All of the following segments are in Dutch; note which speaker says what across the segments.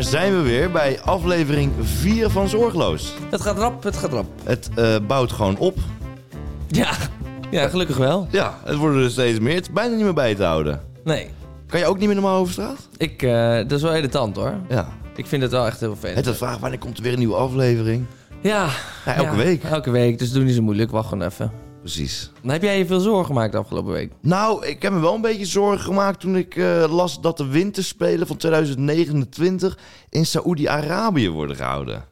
Speaker 1: zijn we weer bij aflevering 4 van Zorgloos.
Speaker 2: Het gaat rap, het gaat rap.
Speaker 1: Het eh, bouwt gewoon op.
Speaker 2: Ja, ja gelukkig wel.
Speaker 1: Ja, het worden er steeds meer. Het is bijna niet meer bij te houden.
Speaker 2: Nee,
Speaker 1: Kan je ook niet meer normaal over straat?
Speaker 2: ik, eh, dat is wel irritant hoor.
Speaker 1: Ja.
Speaker 2: Ik vind het wel echt heel vet.
Speaker 1: Het is de vraag, wanneer komt er weer een nieuwe aflevering?
Speaker 2: Ja,
Speaker 1: Ja, elke week.
Speaker 2: Elke week, dus doe niet zo moeilijk. Wacht gewoon even.
Speaker 1: Precies.
Speaker 2: Dan heb jij je veel zorgen gemaakt de afgelopen week?
Speaker 1: Nou, ik heb me wel een beetje zorgen gemaakt toen ik eh, las dat de winterspelen van 2029 in Saoedi-Arabië worden gehouden.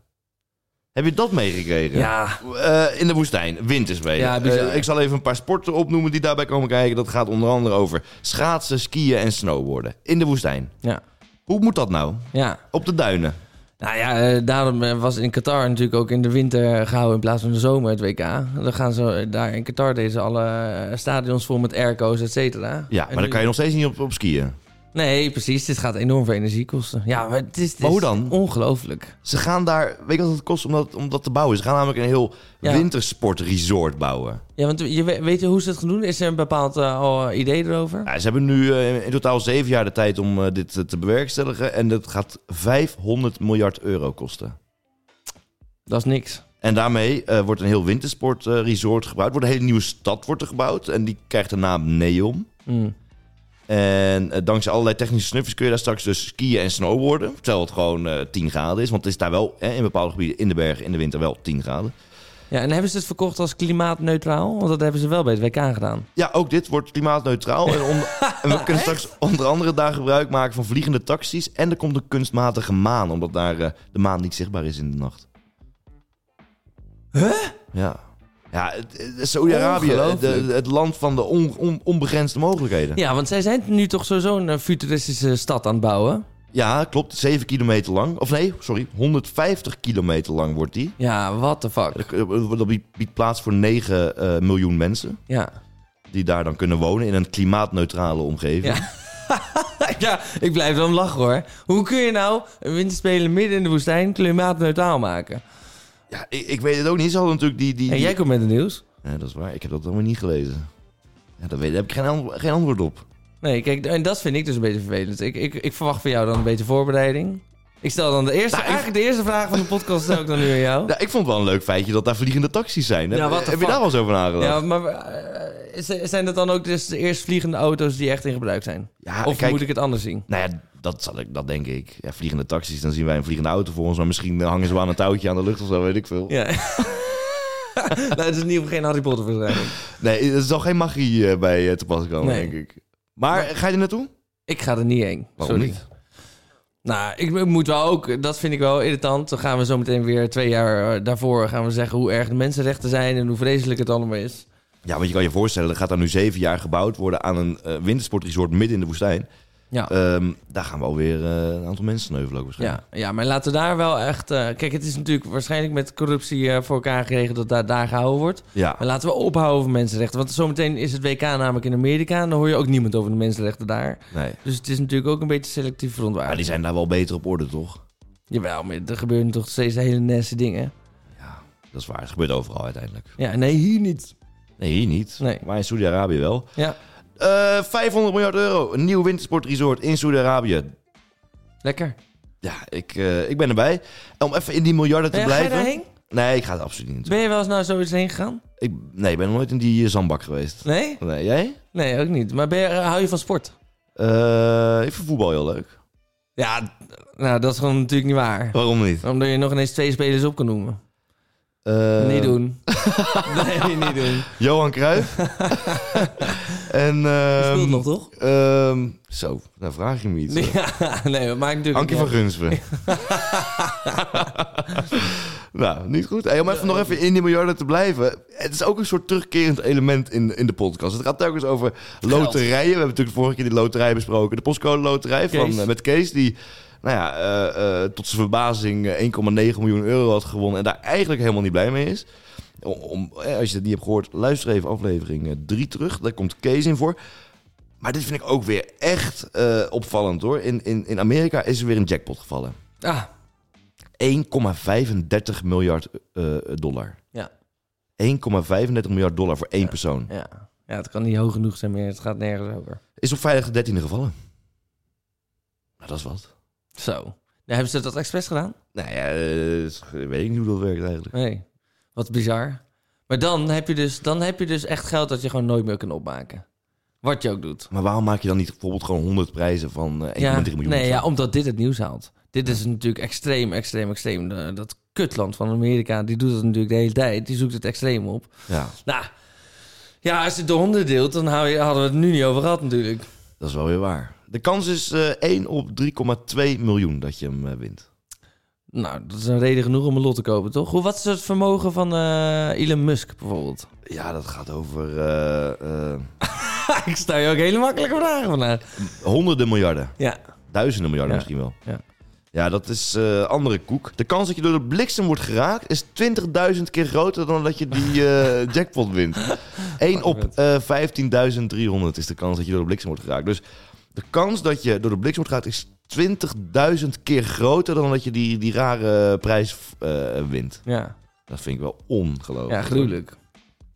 Speaker 1: Heb je dat meegekregen?
Speaker 2: Ja.
Speaker 1: Eh, in de woestijn, winterspelen.
Speaker 2: Ja, bizar.
Speaker 1: Eh, ik zal even een paar sporten opnoemen die daarbij komen kijken. Dat gaat onder andere over schaatsen, skiën en snowboarden. In de woestijn.
Speaker 2: Ja.
Speaker 1: Hoe moet dat nou?
Speaker 2: Ja.
Speaker 1: Op de duinen.
Speaker 2: Nou ja, eh, daarom eh, was in Qatar natuurlijk ook in de winter gehouden in plaats van de zomer het WK. Dan gaan ze eh, daar in Qatar deze alle eh, stadions vol met airco's, et cetera.
Speaker 1: Ja, maar dan kan je nog steeds niet op, op skiën.
Speaker 2: Nee, precies. Dit gaat enorm veel energie kosten. Ja, maar het is, het
Speaker 1: Maar hoe
Speaker 2: is
Speaker 1: dan?
Speaker 2: ongelooflijk.
Speaker 1: Ze gaan daar, weet je wat het kost om dat, om dat te bouwen? Ze gaan namelijk een heel
Speaker 2: Ja.
Speaker 1: wintersportresort bouwen.
Speaker 2: Ja, want je weet, weet je hoe ze het gaan doen? Is er een bepaald eh, al, eh, idee erover?
Speaker 1: Ja, ze hebben nu eh, in totaal zeven jaar de tijd om eh, dit eh, te bewerkstelligen. En dat gaat 500 miljard euro kosten.
Speaker 2: Dat is niks.
Speaker 1: En daarmee eh, wordt een heel wintersportresort gebouwd. Wordt een hele nieuwe stad wordt er gebouwd. En die krijgt de naam Neom.
Speaker 2: Mm.
Speaker 1: En eh, dankzij allerlei technische snuffers kun je daar straks dus skiën en snowboarden. Terwijl het gewoon eh 10 graden is. Want het is daar wel hè, in bepaalde gebieden in de bergen in de winter wel 10 graden.
Speaker 2: Ja, en hebben ze het verkocht als klimaatneutraal? Want dat hebben ze wel bij het WK gedaan.
Speaker 1: Ja, ook dit wordt klimaatneutraal. En, onder- en we kunnen straks onder andere daar gebruik maken van vliegende taxis. En er komt een kunstmatige maan, omdat daar eh, de maan niet zichtbaar is in de nacht. Huh? Ja. Ja, het- het- Saudi-Arabië,
Speaker 2: Ongelooflijk.
Speaker 1: de- het land van de on- on- onbegrensde mogelijkheden. Ja.
Speaker 2: Ja, want zij zijn nu toch sowieso een eh, futuristische stad aan het bouwen.
Speaker 1: klopt. 7 kilometer lang. Of nee, sorry. 150 kilometer lang wordt die.
Speaker 2: Ja, what the fuck.
Speaker 1: Dat- Dat biedt- biedt plaats voor 9 eh, miljoen mensen.
Speaker 2: Ja.
Speaker 1: Die daar dan kunnen wonen in een klimaatneutrale omgeving.
Speaker 2: Ja. ja, ik blijf dan lachen hoor. Hoe kun je nou een winterspelen midden in de woestijn klimaatneutraal maken?
Speaker 1: Ja, ik, ik weet het ook niet. Ze hadden natuurlijk die... die,
Speaker 2: En
Speaker 1: die-
Speaker 2: jij komt met het nieuws.
Speaker 1: Ja, dat is waar. Ik heb dat allemaal niet gelezen. Ja, daar, weet, daar heb ik geen, antwo- geen antwoord op.
Speaker 2: Nee, kijk, en dat vind ik dus een beetje vervelend. Ik, ik, ik verwacht van jou dan een beetje voorbereiding. Ik stel dan de eerste,
Speaker 1: Nou, ik-
Speaker 2: eigenlijk de eerste vraag van de podcast stel ik dan nu aan jou.
Speaker 1: Ja, ik vond het wel een leuk feitje dat daar vliegende taxis zijn.
Speaker 2: Ja,
Speaker 1: heb
Speaker 2: what the
Speaker 1: heb je daar
Speaker 2: fuck?
Speaker 1: wel eens over nagedacht?
Speaker 2: Ja, maar eh, z- zijn dat dan ook dus de eerst vliegende auto's die echt in gebruik zijn?
Speaker 1: Ja,
Speaker 2: of
Speaker 1: Ah, kijk-
Speaker 2: moet ik het anders zien?
Speaker 1: Nou ja, dat, zal ik, dat denk ik. Ja, vliegende taxis, dan zien wij een vliegende auto voor ons. Maar misschien eh, hangen ze wel aan een touwtje aan de lucht of zo, weet ik veel.
Speaker 2: Ja. nou, het is niet geen Harry Potter verschijning.
Speaker 1: Nee, er zal geen magie eh, bij eh, te pas komen,
Speaker 2: Nee.
Speaker 1: denk ik. Maar eh, ga je er naartoe?
Speaker 2: Ik ga er niet heen.
Speaker 1: Waarom
Speaker 2: Sorry.
Speaker 1: niet?
Speaker 2: Nou, ik moet wel ook, dat vind ik wel irritant. Dan gaan we zo meteen weer twee jaar eh, daarvoor gaan we zeggen hoe erg de mensenrechten zijn en hoe vreselijk het allemaal is.
Speaker 1: Ja, want je kan je voorstellen, er gaat daar nu zeven jaar gebouwd worden aan een eh, wintersportresort midden in de woestijn.
Speaker 2: Ja.
Speaker 1: Ehm, daar gaan we alweer eh, een aantal mensen sneuvelen ook waarschijnlijk.
Speaker 2: Ja, ja, maar laten we daar wel echt. eh, kijk, het is natuurlijk waarschijnlijk met corruptie eh, voor elkaar geregeld dat daar, daar gehouden wordt.
Speaker 1: Ja.
Speaker 2: Maar laten we ophouden over mensenrechten. Want zometeen is het WK namelijk in Amerika. En dan hoor je ook niemand over de mensenrechten daar.
Speaker 1: Nee.
Speaker 2: Dus het is natuurlijk ook een beetje selectief
Speaker 1: Maar die
Speaker 2: verontwaardigd.
Speaker 1: zijn daar wel beter op orde, toch?
Speaker 2: Jawel, maar er gebeuren toch steeds hele nasty dingen.
Speaker 1: Ja, dat is waar. Het gebeurt overal uiteindelijk.
Speaker 2: Ja, nee, hier niet.
Speaker 1: Nee, hier niet.
Speaker 2: Nee.
Speaker 1: Maar in Saudi-Arabië wel.
Speaker 2: Ja,
Speaker 1: Eh, 500 miljard euro. Een nieuw wintersportresort in Saudi-Arabië.
Speaker 2: lekker.
Speaker 1: Ja, ik, eh, ik ben erbij. En Om even in die miljarden te
Speaker 2: Ja, ga je
Speaker 1: blijven.
Speaker 2: daarheen?
Speaker 1: Nee, ik ga het absoluut niet. naartoe.
Speaker 2: Ben je wel eens nou zoiets heen gegaan?
Speaker 1: Ik, nee, ik ben nog nooit in die eh, zandbak geweest.
Speaker 2: Nee?
Speaker 1: Nee, jij?
Speaker 2: Nee, ook niet. Maar ben je, hou je van sport?
Speaker 1: Eh, ik vind voetbal heel leuk.
Speaker 2: Ja, nou, dat is gewoon natuurlijk niet waar.
Speaker 1: Waarom niet?
Speaker 2: Omdat je nog ineens twee spelers op kan noemen.
Speaker 1: Eh,
Speaker 2: Niet doen. nee, niet doen.
Speaker 1: Johan Cruijff. en...
Speaker 2: Je
Speaker 1: ehm,
Speaker 2: speelt nog, toch?
Speaker 1: ehm, zo, daar vraag je me iets.
Speaker 2: Ja, nee, dat maakt natuurlijk
Speaker 1: Ankie
Speaker 2: niet
Speaker 1: van
Speaker 2: uit.
Speaker 1: Gunsven. nou, niet goed. Hey, om even nog even in die miljarden te blijven. Het is ook een soort terugkerend element in, in de podcast. Het gaat telkens over loterijen. We hebben natuurlijk de vorige keer die loterij besproken. De postcode loterij van,
Speaker 2: Kees.
Speaker 1: eh, met Kees. Die nou ja, eh, eh, tot zijn verbazing eh, 1,9 miljoen euro had gewonnen. En daar eigenlijk helemaal niet blij mee is. Om, om- eh, als je dat niet hebt gehoord, luister even aflevering 3 terug. Daar komt Kees in voor. Maar dit vind ik ook weer echt eh, opvallend hoor. In, in, in Amerika is er weer een jackpot gevallen.
Speaker 2: Ah,
Speaker 1: 1,35 miljard eh, dollar.
Speaker 2: ja.
Speaker 1: 1,35 miljard dollar voor één persoon.
Speaker 2: ja. Ja, het kan niet hoog genoeg zijn meer. Het gaat nergens over.
Speaker 1: Is op vrijdag de 13e gevallen. Nou, dat is wat.
Speaker 2: Zo. Ja, hebben ze dat expres gedaan?
Speaker 1: Nou ja, eh, is- weet ik niet hoe dat werkt eigenlijk.
Speaker 2: Nee. Wat bizar. Maar dan heb, je dus, dan heb je dus echt geld dat je gewoon nooit meer kan opmaken. Wat je ook doet.
Speaker 1: Maar waarom maak je dan niet bijvoorbeeld gewoon 100 prijzen van eh, 1,3
Speaker 2: Ja,
Speaker 1: miljoen?
Speaker 2: nee,
Speaker 1: of zo?
Speaker 2: ja, omdat dit het nieuws haalt. Dit is natuurlijk extreem, extreem, extreem. De- dat kutland van Amerika, die doet het natuurlijk de hele tijd. Die zoekt het extreem op.
Speaker 1: ja,
Speaker 2: Nou, ja, als je het de honden deelt, dan hou je, hadden we het nu niet over gehad natuurlijk.
Speaker 1: dat is wel weer waar. De kans is eh 1 op 3,2 miljoen dat je hem eh, wint.
Speaker 2: Nou, dat is een reden genoeg om een lot te kopen, toch? Hoe, wat is het vermogen van eh, Elon Musk bijvoorbeeld?
Speaker 1: Ja, dat gaat over eh, eh,
Speaker 2: Ik stel je ook hele makkelijke vragen vandaag.
Speaker 1: honderden miljarden.
Speaker 2: Ja.
Speaker 1: Duizenden miljarden
Speaker 2: Ja.
Speaker 1: misschien wel.
Speaker 2: Ja.
Speaker 1: Ja, dat is eh, andere koek. De kans dat je door de bliksem wordt geraakt is 20.000 keer groter dan dat je die eh, jackpot wint. 1 op eh 15.300 is de kans dat je door de bliksem wordt geraakt. Dus de kans dat je door de bliksem wordt geraakt is 20.000 keer groter dan dat je die, die rare prijs eh, wint.
Speaker 2: Ja, Oh,
Speaker 1: Dat vind ik wel ongelooflijk.
Speaker 2: ja gruwelijk.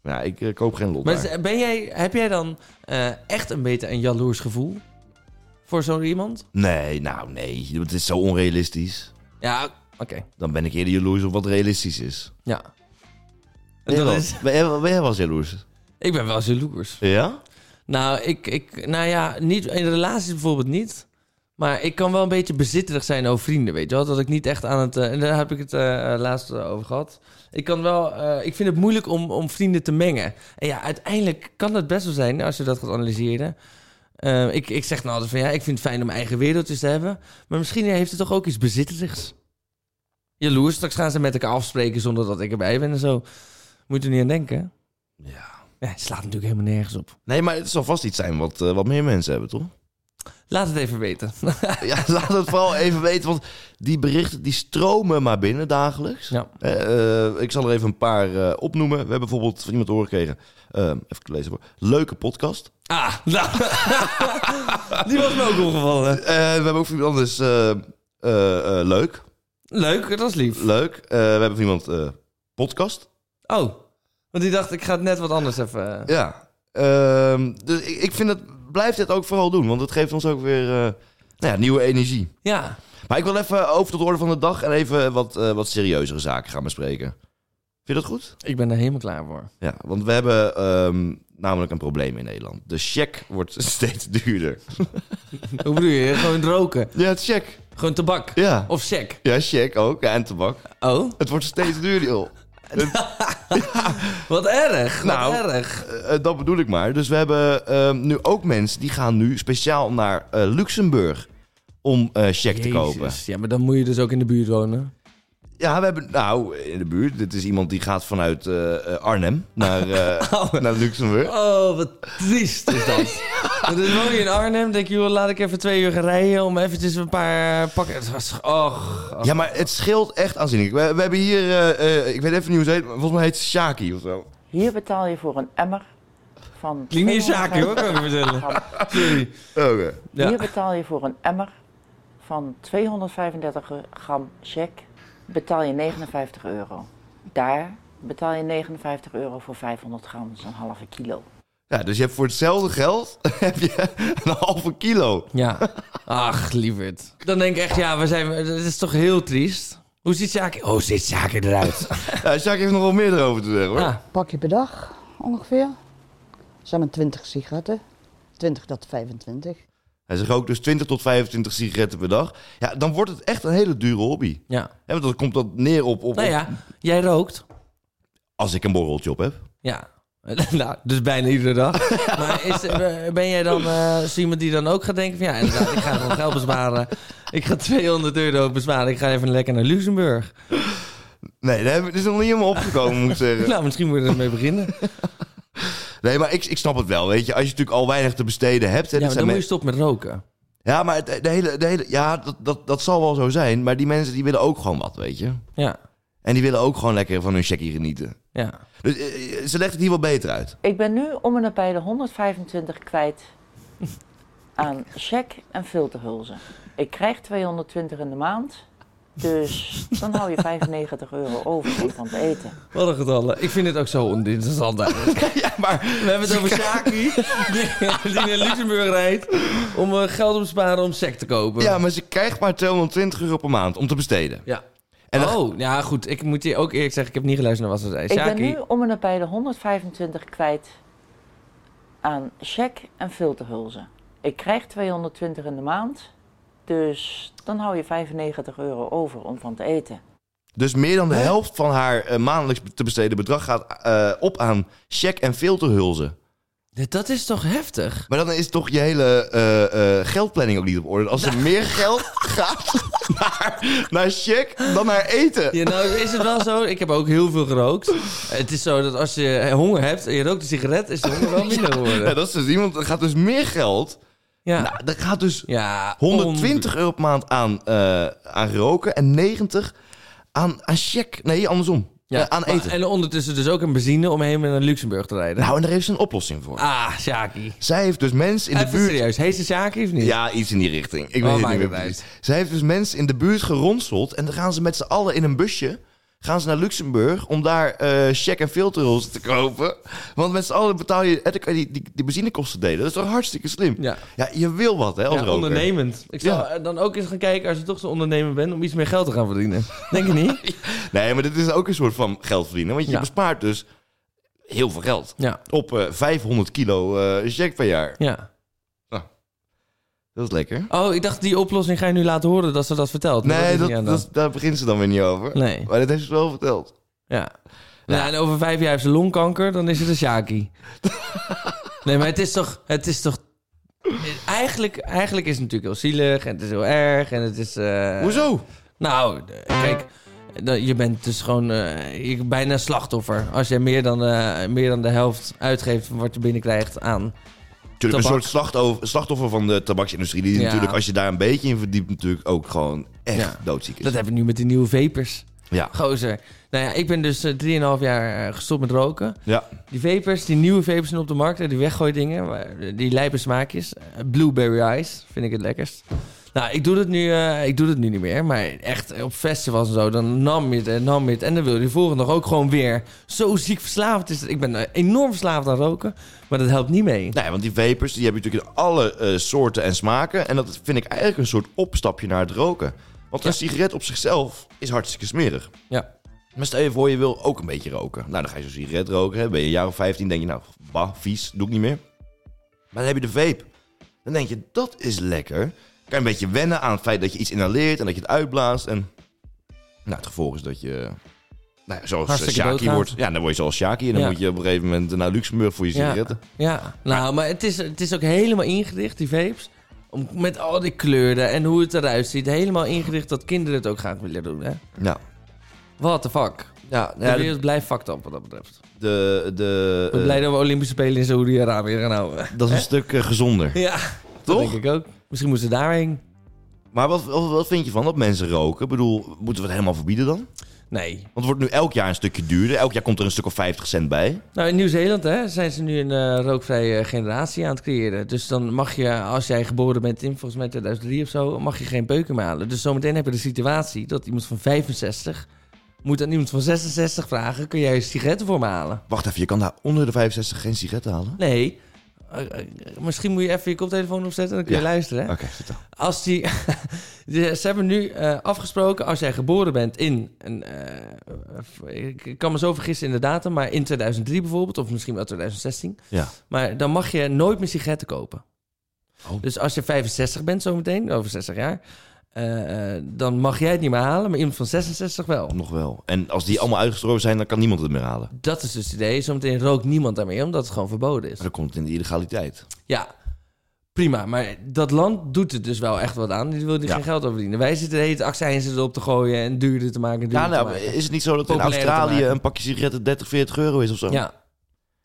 Speaker 1: Ja, ik eh, koop geen lot
Speaker 2: Maar
Speaker 1: daar.
Speaker 2: is- ben jij, heb jij dan eh, echt een beetje een jaloers gevoel voor zo iemand?
Speaker 1: Nee, nou nee. Het is zo onrealistisch.
Speaker 2: Ja, oké.
Speaker 1: Dan ben ik eerder jaloers op wat realistisch is.
Speaker 2: Ja.
Speaker 1: Ben jij
Speaker 2: En dat
Speaker 1: wel-
Speaker 2: is,
Speaker 1: ben jij wel ben jij wel eens jaloers?
Speaker 2: ik ben wel jaloers.
Speaker 1: Ja?
Speaker 2: Nou, ik, ik, nou ja, niet, in relaties bijvoorbeeld niet. Maar ik kan wel een beetje bezitterig zijn over vrienden, weet je wel. Dat ik niet echt aan het... eh, en daar heb ik het eh, eh, laatst eh, over gehad. Ik kan wel... eh, ik vind het moeilijk om, om vrienden te mengen. En ja, uiteindelijk kan het best wel zijn, als je dat gaat analyseren. Eh, ik, ik zeg nou altijd van, ja, ik vind het fijn om eigen wereldjes te hebben. Maar misschien heeft het toch ook iets bezitterigs. Jaloers, straks gaan ze met elkaar afspreken zonder dat ik erbij ben en zo. Moet je er niet aan denken.
Speaker 1: Ja.
Speaker 2: Ja, het slaat natuurlijk helemaal nergens op.
Speaker 1: Nee, maar het zal vast iets zijn wat, eh, wat meer mensen hebben, toch?
Speaker 2: Laat het even weten.
Speaker 1: ja, laat het vooral even weten, want die berichten die stromen maar binnen dagelijks.
Speaker 2: Ja.
Speaker 1: Eh, eh, ik zal er even een paar eh, opnoemen. We hebben bijvoorbeeld van iemand te horen gekregen, eh, even lezen hoor. Leuke podcast.
Speaker 2: Ah, nou. Die was me ook opgevallen.
Speaker 1: Eh, we hebben ook van iemand anders, eh, eh, eh, leuk,
Speaker 2: Leuk, dat is lief.
Speaker 1: leuk. Eh, we hebben van iemand, eh, podcast.
Speaker 2: Oh, want die dacht ik ga het net wat anders even... eh,
Speaker 1: Ja. Ehm, dus ik, ik vind dat, blijf dit ook vooral doen, want het geeft ons ook weer eh, nou ja, nieuwe energie.
Speaker 2: Ja,
Speaker 1: Maar ik wil even over tot de orde van de dag en even wat, eh, wat serieuzere zaken gaan bespreken. Vind je dat goed?
Speaker 2: ik ben er helemaal klaar voor.
Speaker 1: Ja, want we hebben ehm, namelijk een probleem in Nederland. De check wordt steeds duurder.
Speaker 2: Hoe bedoel je? Gewoon roken.
Speaker 1: Ja, het check.
Speaker 2: Gewoon tabak.
Speaker 1: Ja.
Speaker 2: Of sec.
Speaker 1: Ja, check ook. Ja, en tabak.
Speaker 2: Oh,
Speaker 1: Het wordt steeds duurder, joh.
Speaker 2: wat erg. Wat
Speaker 1: Nou.
Speaker 2: erg.
Speaker 1: Eh, eh, dat bedoel ik maar. Dus we hebben ehm, nu ook mensen die gaan nu speciaal naar eh, Luxemburg om eh check te kopen.
Speaker 2: Ja, maar dan moet je dus ook in de buurt wonen.
Speaker 1: Ja, we hebben, nou, in de buurt. Dit is iemand die gaat vanuit eh, eh, Arnhem naar, eh, naar Luxemburg.
Speaker 2: Oh, wat triest is dat. Dus woon je in Arnhem, denk je, joh, laat ik even twee uur gaan rijden om eventjes een paar pakken... Het was- Och,
Speaker 1: Ja, maar het scheelt echt aanzienlijk. We, we hebben hier, eh, eh, ik weet even niet hoe ze heet, maar volgens mij heet ze Shaki of zo.
Speaker 3: Hier betaal je voor een emmer van.
Speaker 2: Klinkt niet zaken
Speaker 3: 250
Speaker 2: hoor, kan ik je vertellen.
Speaker 3: gram.
Speaker 2: Sorry.
Speaker 1: Oh, Oké.
Speaker 3: Hier
Speaker 2: Ja.
Speaker 3: betaal je voor een emmer van 235 gram check. Betaal je 59 euro. Daar betaal je 59 euro voor 500 gram, dat is een halve kilo.
Speaker 1: Ja, dus je hebt voor hetzelfde geld heb je een halve kilo.
Speaker 2: ja. Ach, lieverd. Dan denk ik echt, ja, we zijn, het is toch heel triest. Hoe ziet zaken? Oh, ziet zaken eruit.
Speaker 1: Ja, Shaki heeft nog wel meer erover te zeggen hoor.
Speaker 2: Ja.
Speaker 4: pakje per dag ongeveer. Samen 20 sigaretten. 20 tot 25.
Speaker 1: Hij zegt ook dus 20 tot 25 sigaretten per dag. Ja, dan wordt het echt een hele dure hobby.
Speaker 2: ja.
Speaker 1: Hè, want dan komt dat neer op, op,
Speaker 2: Nou ja, jij rookt.
Speaker 1: als ik een borreltje op heb.
Speaker 2: Ja. nou, dus bijna iedere dag. Maar is, eh, ben jij dan eh, zo iemand die dan ook gaat denken van... ja, inderdaad, ik ga gewoon geld besparen. Ik ga 200 euro besparen. Ik ga even lekker naar Luxemburg.
Speaker 1: Nee, daar heb ik- dat is nog niet helemaal opgekomen, moet ik zeggen.
Speaker 2: Nou, misschien moet je ermee beginnen.
Speaker 1: Nee, maar ik, ik snap het wel, weet je. Als je natuurlijk al weinig te besteden hebt... hè,
Speaker 2: Ja,
Speaker 1: dit
Speaker 2: maar
Speaker 1: zijn
Speaker 2: dan moet je
Speaker 1: men-
Speaker 2: stoppen met roken.
Speaker 1: ja, maar het- de hele, de hele, ja dat, dat, dat zal wel zo zijn. Maar die mensen die willen ook gewoon wat, weet je.
Speaker 2: Ja.
Speaker 1: En die willen ook gewoon lekker van hun checkie genieten.
Speaker 2: Ja.
Speaker 1: Dus eh, eh, ze legt het hier wel beter uit.
Speaker 3: Ik ben nu om en nabij de 125 kwijt aan check en filterhulzen. Ik krijg 220 in de maand. Dus dan hou je 95 euro over van het eten.
Speaker 2: Wat een getallen. Ik vind het ook zo oninteressant eigenlijk.
Speaker 1: Ja, maar
Speaker 2: We hebben het over Saki, die naar Luxemburg rijdt om eh, geld op te sparen om sec te kopen.
Speaker 1: Ja, maar ze krijgt maar 220 euro per maand om te besteden.
Speaker 2: Ja.
Speaker 1: En dan-
Speaker 2: oh, ja goed. Ik moet je ook eerlijk zeggen, ik heb niet geluisterd naar wat ze zei.
Speaker 3: Ik ben
Speaker 2: Sjaki-
Speaker 3: nu om en nabij de 125 kwijt aan check en filterhulzen. Ik krijg 220 in de maand, dus dan hou je 95 euro over om van te eten.
Speaker 1: Dus meer dan de helft van haar eh, maandelijks te besteden bedrag gaat eh, op aan check- en filterhulzen.
Speaker 2: D- Dat is toch heftig?
Speaker 1: Maar dan is toch je hele eh, eh, geldplanning ook niet op orde. Als er meer geld gaat naar, naar check dan naar eten.
Speaker 2: Ja, nou is het wel zo. Ik heb ook heel veel gerookt. Het is zo dat als je eh, honger hebt en je rookt een sigaret, is de honger wel minder
Speaker 1: Ja,
Speaker 2: geworden.
Speaker 1: dat is dus iemand, er gaat dus meer geld.
Speaker 2: Ja.
Speaker 1: Nou, er gaat dus
Speaker 2: ja
Speaker 1: 120 euro per maand aan, eh, aan roken en 90 aan, aan check. Nee, andersom.
Speaker 2: on-
Speaker 1: Eh, aan
Speaker 2: maar-
Speaker 1: eten.
Speaker 2: En ondertussen dus ook een benzine om helemaal naar Luxemburg te rijden.
Speaker 1: Nou, en daar heeft ze een oplossing voor.
Speaker 2: Ah, Sjaki.
Speaker 1: Zij heeft dus mensen in de
Speaker 2: Even
Speaker 1: buurt...
Speaker 2: serieus. Heet ze Sjaki of niet?
Speaker 1: Ja, iets in die richting. Ik
Speaker 2: Oh,
Speaker 1: weet het
Speaker 2: maakt
Speaker 1: niet meer
Speaker 2: het
Speaker 1: precies.
Speaker 2: uit.
Speaker 1: Zij heeft dus mensen in de buurt geronseld. En dan gaan ze met z'n allen in een busje... gaan ze naar Luxemburg om daar eh check- en filterhuls te kopen. Want met z'n allen betaal je... en dan kan je die, die, die benzinekosten delen. Dat is toch hartstikke slim?
Speaker 2: Ja.
Speaker 1: je wil wat, hè, als
Speaker 2: Ja,
Speaker 1: roker.
Speaker 2: ondernemend. Ik zou
Speaker 1: Ja.
Speaker 2: eh, dan ook eens gaan kijken, als je toch zo'n ondernemer bent, om iets meer geld te gaan verdienen. Denk je niet?
Speaker 1: Nee, maar dit is ook een soort van geld verdienen. Want je
Speaker 2: Ja.
Speaker 1: bespaart dus heel veel geld.
Speaker 2: Ja.
Speaker 1: Op eh, 500 kilo eh, check per jaar.
Speaker 2: Ja.
Speaker 1: Dat is lekker.
Speaker 2: Oh, ik dacht, die oplossing ga je nu laten horen dat ze dat vertelt. Maar
Speaker 1: Nee,
Speaker 2: is
Speaker 1: dat,
Speaker 2: niet aan de
Speaker 1: dat, daar begint ze dan weer niet over.
Speaker 2: hand. Nee.
Speaker 1: Maar dat heeft ze wel verteld.
Speaker 2: Ja. Nou, en over vijf jaar heeft ze longkanker, dan is het een Shaki. nee, maar het is toch... Het is toch eigenlijk, eigenlijk is het natuurlijk heel zielig en het is heel erg en het is... eh,
Speaker 1: Hoezo?
Speaker 2: Nou, eh, kijk, dat- je bent dus gewoon eh, je, bijna slachtoffer. Als je meer dan, eh, meer dan de helft uitgeeft van wat je binnenkrijgt aan...
Speaker 1: Natuurlijk een
Speaker 2: Tabak.
Speaker 1: soort slachtoffer, slachtoffer van de tabaksindustrie. Die
Speaker 2: Ja.
Speaker 1: natuurlijk, als je daar een beetje in verdiept, natuurlijk ook gewoon echt
Speaker 2: Ja.
Speaker 1: doodziek is.
Speaker 2: Dat heb ik nu met die nieuwe vapers.
Speaker 1: Ja.
Speaker 2: Gozer. Nou ja, ik ben dus eh, 3,5 jaar eh, gestopt met roken.
Speaker 1: Ja.
Speaker 2: Die vapers, die nieuwe vapers zijn op de markt. hè, Die weggooidingen, waar- die lijpe smaakjes. Eh, Blueberry ice vind ik het lekkerst. Nou, ik doe dat nu, eh, ik doe dat nu niet meer. Maar echt eh, op festivals en zo, dan nam je het en nam je het. En dan wil je de volgende dag ook gewoon weer. Zo ziek verslaafd is het. Ik ben eh, enorm verslaafd aan roken. Maar dat helpt niet mee.
Speaker 1: Nee, want die vapers die heb je natuurlijk in alle eh, soorten en smaken. En dat vind ik eigenlijk een soort opstapje naar het roken. Want een
Speaker 2: Ja.
Speaker 1: sigaret op zichzelf is hartstikke smerig.
Speaker 2: Ja.
Speaker 1: Maar stel je voor, je wil ook een beetje roken. Nou, dan ga je zo'n sigaret roken. Hè. Ben je een jaar of 15, denk je, nou, bah, vies, doe ik niet meer. Maar dan heb je de vape. Dan denk je, dat is lekker. Kan je een beetje wennen aan het feit dat je iets inhaleert en dat je het uitblaast. En nou, het gevolg is dat je, nou, ja, zoals
Speaker 2: Hartstikke
Speaker 1: Shaki
Speaker 2: doodgaat.
Speaker 1: wordt. Ja, dan word je zoals Shaki. En dan
Speaker 2: Ja.
Speaker 1: moet je op een gegeven moment naar Luxemburg voor je sigaretten.
Speaker 2: Ja, nou, maar het is, het is ook helemaal ingericht, die vapes. Om, met al die kleuren en hoe het eruit ziet. Helemaal ingericht dat kinderen het ook graag willen doen, hè?
Speaker 1: Nou,
Speaker 2: What the fuck?
Speaker 1: ja,
Speaker 2: De
Speaker 1: nou ja,
Speaker 2: wereld blijft fucked up wat dat betreft. Ik
Speaker 1: de, de,
Speaker 2: ben
Speaker 1: eh,
Speaker 2: blij dat we Olympische Spelen in Saoedi-Arabië gaan houden.
Speaker 1: dat is een stuk eh, gezonder.
Speaker 2: Ja, dat
Speaker 1: Toch?
Speaker 2: denk ik ook. Misschien moeten ze daarheen.
Speaker 1: Maar wat, wat, wat vind je van dat mensen roken? Ik bedoel, moeten we het helemaal verbieden dan?
Speaker 2: Nee.
Speaker 1: Want het wordt nu elk jaar een stukje duurder. Elk jaar komt er een stuk of 50 cent bij.
Speaker 2: Nou, in Nieuw-Zeeland hè, zijn ze nu een eh, rookvrije generatie aan het creëren. Dus dan mag je, als jij geboren bent in volgens mij 2003 of zo, mag je geen peuken meer halen. Dus zometeen heb je de situatie dat iemand van 65 moet aan iemand van 66 vragen: kun jij een sigaretten voor me halen?
Speaker 1: Wacht even, je kan daar onder de 65 geen sigaretten halen?
Speaker 2: Nee. Eh, eh, misschien moet je even je koptelefoon opzetten, dan kun je
Speaker 1: Ja.
Speaker 2: luisteren. Hè?
Speaker 1: Oké, vertel.
Speaker 2: Als die, de- ze hebben nu eh, afgesproken, als jij geboren bent in, een, eh, ik kan me zo vergissen in de datum, maar in 2003 bijvoorbeeld, of misschien wel 2016,
Speaker 1: Ja.
Speaker 2: maar dan mag je nooit meer sigaretten kopen.
Speaker 1: Oh.
Speaker 2: Dus als je 65 bent zometeen, over 60 jaar, eh, eh, dan mag jij het niet meer halen, maar iemand van 66 wel.
Speaker 1: Nog wel. En als die allemaal uitgestorven zijn, dan kan niemand het meer halen.
Speaker 2: Dat is dus het idee. Zometeen rookt niemand daarmee, omdat het gewoon verboden is.
Speaker 1: Dan komt het in de illegaliteit.
Speaker 2: Ja, prima. Maar dat land doet het dus wel echt wat aan. Die wil er
Speaker 1: Ja.
Speaker 2: geen geld over verdienen. Wij zitten de hele tijd accijnzen erop te gooien en duurder te maken. Duurder
Speaker 1: Ja, nou,
Speaker 2: te maken.
Speaker 1: is het niet zo dat in
Speaker 2: Populairder te
Speaker 1: Australië
Speaker 2: maken.
Speaker 1: een pakje sigaretten 30, 40 euro is of zo?
Speaker 2: Ja.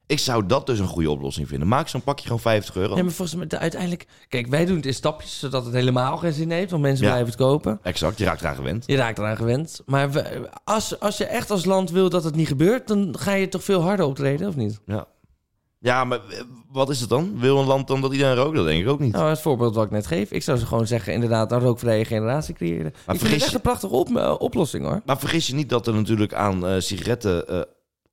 Speaker 1: Ik zou dat dus een goede oplossing vinden. Maak zo'n pakje gewoon 50 euro.
Speaker 2: Nee, maar volgens mij de- uiteindelijk... Kijk, wij doen het in stapjes, zodat het helemaal geen zin heeft. Want mensen
Speaker 1: Ja.
Speaker 2: blijven het kopen.
Speaker 1: Exact, je raakt eraan gewend.
Speaker 2: Je raakt eraan gewend. Maar we- als, als je echt als land wil dat het niet gebeurt... dan ga je toch veel harder optreden, of niet?
Speaker 1: Ja. Ja, maar eh, wat is het dan? Wil een land dan dat iedereen rookt? Dat denk ik ook niet.
Speaker 2: Nou, het voorbeeld wat ik net geef. Ik zou ze gewoon zeggen, inderdaad, een rookvrije generatie creëren. ik vind
Speaker 1: vergis
Speaker 2: het echt
Speaker 1: je-
Speaker 2: een prachtige op- eh, oplossing, hoor.
Speaker 1: Maar vergis je niet dat er natuurlijk aan eh, sigaretten eh,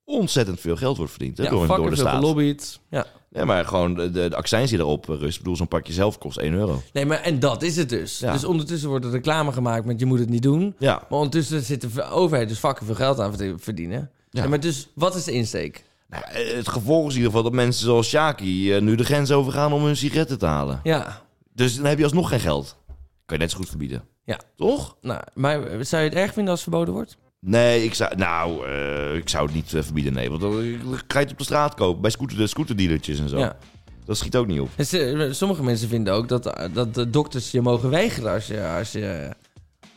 Speaker 1: ontzettend veel geld wordt verdiend hè, door,
Speaker 2: fucking
Speaker 1: door de
Speaker 2: veel
Speaker 1: staat.
Speaker 2: gelobbied. Ja. Ik
Speaker 1: Ja, maar gewoon de, de, de accijns die erop rust. Ik bedoel, zo'n pakje zelf kost 1 euro.
Speaker 2: Nee, maar en dat is het dus.
Speaker 1: Ja.
Speaker 2: Dus ondertussen wordt er reclame gemaakt met je moet het niet doen.
Speaker 1: Ja,
Speaker 2: Maar ondertussen zit de overheid dus fucking veel geld aan te verdienen.
Speaker 1: Ja.
Speaker 2: Ja. maar dus, wat is de insteek?
Speaker 1: Nou, eh, het gevolg is in ieder geval dat mensen zoals Shaki eh, nu de grens overgaan om hun sigaretten te halen.
Speaker 2: Ja,
Speaker 1: Dus dan heb je alsnog geen geld. Kan je net zo goed verbieden.
Speaker 2: Ja.
Speaker 1: Toch?
Speaker 2: nou, maar zou je het erg vinden als het verboden wordt?
Speaker 1: Nee, ik zou, nou, eh, ik zou het niet eh, verbieden, nee. Want dan ga je het op de straat kopen, bij scooter, de scooterdealertjes en zo.
Speaker 2: Ja.
Speaker 1: Dat schiet ook niet op.
Speaker 2: En ze- eh, sommige mensen vinden ook dat, eh, dat de dokters je mogen weigeren als je, als je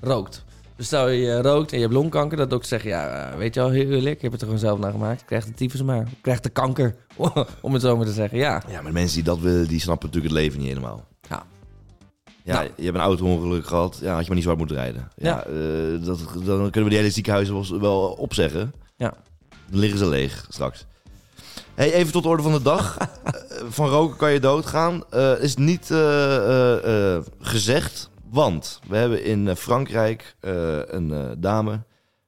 Speaker 2: rookt. Dus stel je rookt en je hebt longkanker, dat dokters zeggen... Ja, eh, weet je wel, heel eerlijk, ik heb het er gewoon zelf naar gemaakt. Je krijgt de tyfus maar. Je krijgt de kanker, om het zo maar te zeggen. Ja,
Speaker 1: Ja, maar de mensen die dat willen, die snappen natuurlijk het leven niet helemaal.
Speaker 2: Ja.
Speaker 1: Ja,
Speaker 2: Nou.
Speaker 1: je hebt een auto-ongeluk gehad. Ja, had je maar niet zo hard moeten rijden. Ja,
Speaker 2: Ja.
Speaker 1: eh, dat, dan kunnen we die hele ziekenhuizen wel, wel opzeggen.
Speaker 2: Ja.
Speaker 1: Dan liggen ze leeg straks. Hey, even tot de orde van de dag. Eh, van roken kan je doodgaan. Eh, is niet eh, eh, eh, gezegd, want we hebben in eh, Frankrijk eh, een eh, dame...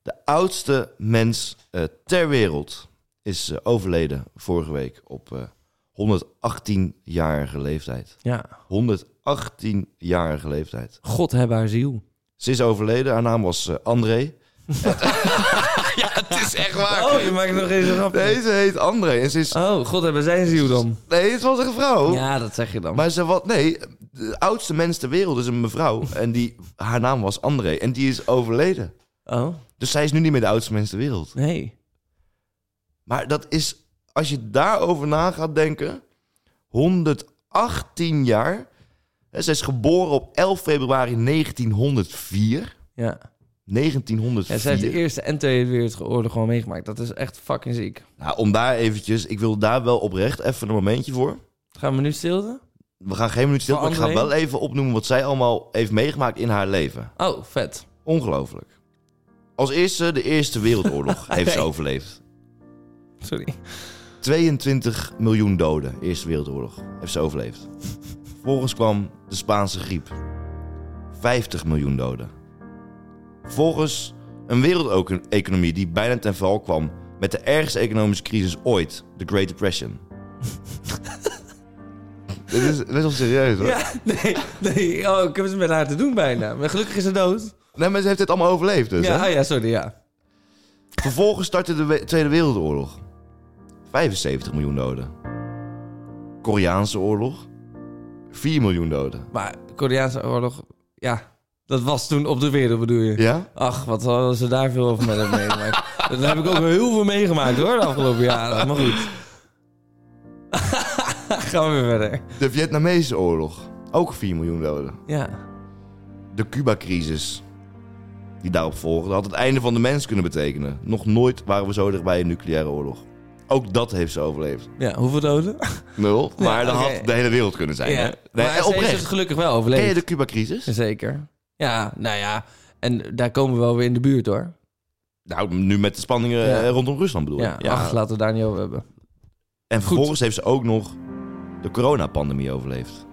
Speaker 1: De oudste mens eh, ter wereld is eh, overleden vorige week op eh, 118-jarige leeftijd.
Speaker 2: ja.
Speaker 1: 118-jarige leeftijd.
Speaker 2: God hebben haar ziel.
Speaker 1: Ze is overleden, haar naam was eh, André.
Speaker 2: Het is echt waar. Oh, je maakt nog eens een grapje.
Speaker 1: Nee, ze heet André. En ze is...
Speaker 2: Oh, God hebben zijn ziel dan.
Speaker 1: Nee, het was een vrouw.
Speaker 2: Ja, dat zeg je dan.
Speaker 1: Maar ze wat? Nee, de oudste mens ter wereld is een mevrouw. En die, haar naam was André. En die is overleden.
Speaker 2: Oh,
Speaker 1: Dus zij is nu niet meer de oudste mens ter wereld.
Speaker 2: nee.
Speaker 1: Maar dat is, als je daarover na gaat denken, 118 jaar. Hè, Ze is geboren op 11 februari 1904.
Speaker 2: Ja. ja
Speaker 1: 1904.
Speaker 2: zij heeft de Eerste en Tweede Wereldoorlog gewoon meegemaakt. Dat is echt fucking ziek.
Speaker 1: nou, om daar eventjes, ik wil daar wel oprecht even een momentje voor.
Speaker 2: Gaan we nu stilte?
Speaker 1: We gaan geen minuut stil, maar ik ga
Speaker 2: André?
Speaker 1: wel even opnoemen wat zij allemaal heeft meegemaakt in haar leven.
Speaker 2: Oh, vet.
Speaker 1: Ongelooflijk. Als eerste de Eerste Wereldoorlog heeft ze
Speaker 2: Oké.
Speaker 1: overleefd.
Speaker 2: Sorry.
Speaker 1: 22 miljoen doden, Eerste Wereldoorlog, heeft ze overleefd. Vervolgens kwam de Spaanse griep. 50 miljoen doden. Vervolgens een wereldeconomie die bijna ten val kwam met de ergste economische crisis ooit, de Great Depression. Dit is best wel serieus hoor.
Speaker 2: Ja, nee, nee. Oh, ik heb het met haar te doen bijna. Maar gelukkig is ze dood.
Speaker 1: Nee, maar ze heeft dit allemaal overleefd dus.
Speaker 2: ja,
Speaker 1: hè?
Speaker 2: oh ja, sorry, ja.
Speaker 1: Vervolgens startte de we- Tweede Wereldoorlog. 75 miljoen doden. Koreaanse oorlog. 4 miljoen doden.
Speaker 2: Maar Koreaanse oorlog, ja. Dat was toen op de wereld, bedoel je?
Speaker 1: Ja?
Speaker 2: Ach, wat hadden ze daar veel over met hebben meegemaakt. Daar heb ik ook heel veel meegemaakt hoor, de afgelopen jaren. Maar goed. Gaan we weer verder.
Speaker 1: De Vietnamese oorlog. Ook 4 miljoen doden.
Speaker 2: Ja.
Speaker 1: De Cuba-crisis. Die daarop volgde. had het einde van de mens kunnen betekenen. Nog nooit waren we zo dichtbij een nucleaire oorlog. Ook dat heeft ze overleefd.
Speaker 2: ja, hoeveel doden?
Speaker 1: Nul.
Speaker 2: Ja,
Speaker 1: Maar dat
Speaker 2: oké.
Speaker 1: had de hele wereld kunnen zijn. hè?
Speaker 2: Ja.
Speaker 1: Nee,
Speaker 2: maar ze heeft het
Speaker 1: oprecht.
Speaker 2: gelukkig wel
Speaker 1: Ken je
Speaker 2: overleefd.
Speaker 1: de Cuba-crisis?
Speaker 2: Zeker. Ja, nou ja. En daar komen we wel weer in de buurt hoor.
Speaker 1: Nou, nu met de spanningen
Speaker 2: Ja.
Speaker 1: eh, rondom Rusland bedoel ik.
Speaker 2: Ja, ach, laten we het daar niet over hebben.
Speaker 1: En vervolgens heeft ze ook nog de coronapandemie overleefd.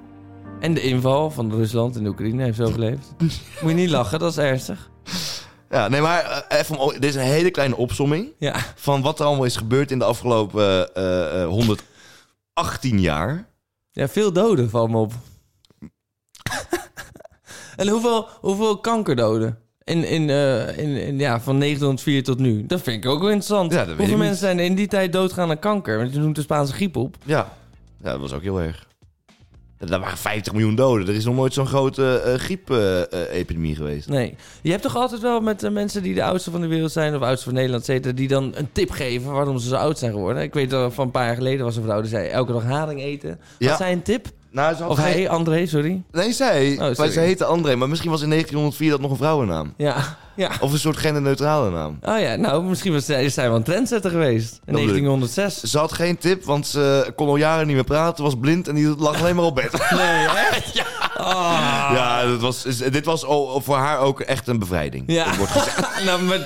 Speaker 2: En de inval van Rusland in de Oekraïne heeft ze overleefd. Moet je niet lachen, dat is ernstig.
Speaker 1: Ja, nee, maar eh, even, om- dit is een hele kleine opsomming
Speaker 2: Ja.
Speaker 1: van wat er allemaal is gebeurd in de afgelopen eh, eh, 118 jaar.
Speaker 2: Ja, veel doden vallen me op. en hoeveel, hoeveel kankerdoden? In, in, eh, in, in, ja, van 1904 tot nu. Dat vind ik ook wel interessant.
Speaker 1: Ja, dat weet
Speaker 2: hoeveel
Speaker 1: ik
Speaker 2: mensen zijn in die tijd doodgaan aan kanker? Want je noemt de Spaanse griep op.
Speaker 1: Ja. ja, dat was ook heel erg. Ja, Daar waren 50 miljoen doden. Er is nog nooit zo'n grote eh, griepepidemie geweest.
Speaker 2: Nee. Je hebt toch altijd wel met eh, mensen die de oudste van de wereld zijn... of oudste van Nederland, et cetera, die dan een tip geven waarom ze zo oud zijn geworden. Ik weet dat van een paar jaar geleden was een vrouw die zei... elke dag haring eten.
Speaker 1: Ja.
Speaker 2: Had zij een tip?
Speaker 1: Nou, ze had
Speaker 2: Of
Speaker 1: geen-
Speaker 2: hij, André, sorry.
Speaker 1: Nee, zij.
Speaker 2: sorry.
Speaker 1: maar ze heette André. Maar misschien was in 1904 dat nog een vrouwennaam.
Speaker 2: Ja. ja.
Speaker 1: Of een soort genderneutrale naam.
Speaker 2: Oh ja, nou, misschien was, zij- is zij wel een trendsetter geweest. In
Speaker 1: bedoel ik.
Speaker 2: 1906.
Speaker 1: Ze had geen tip, want ze kon al jaren niet meer praten, was blind en die lag alleen maar op bed.
Speaker 2: Nee, echt?
Speaker 1: Dus-
Speaker 2: Ah.
Speaker 1: Ja, dat was, is- dit was o- voor haar ook echt een bevrijding.
Speaker 2: Ja.
Speaker 1: Dat wordt gezegd.
Speaker 2: nou, maar,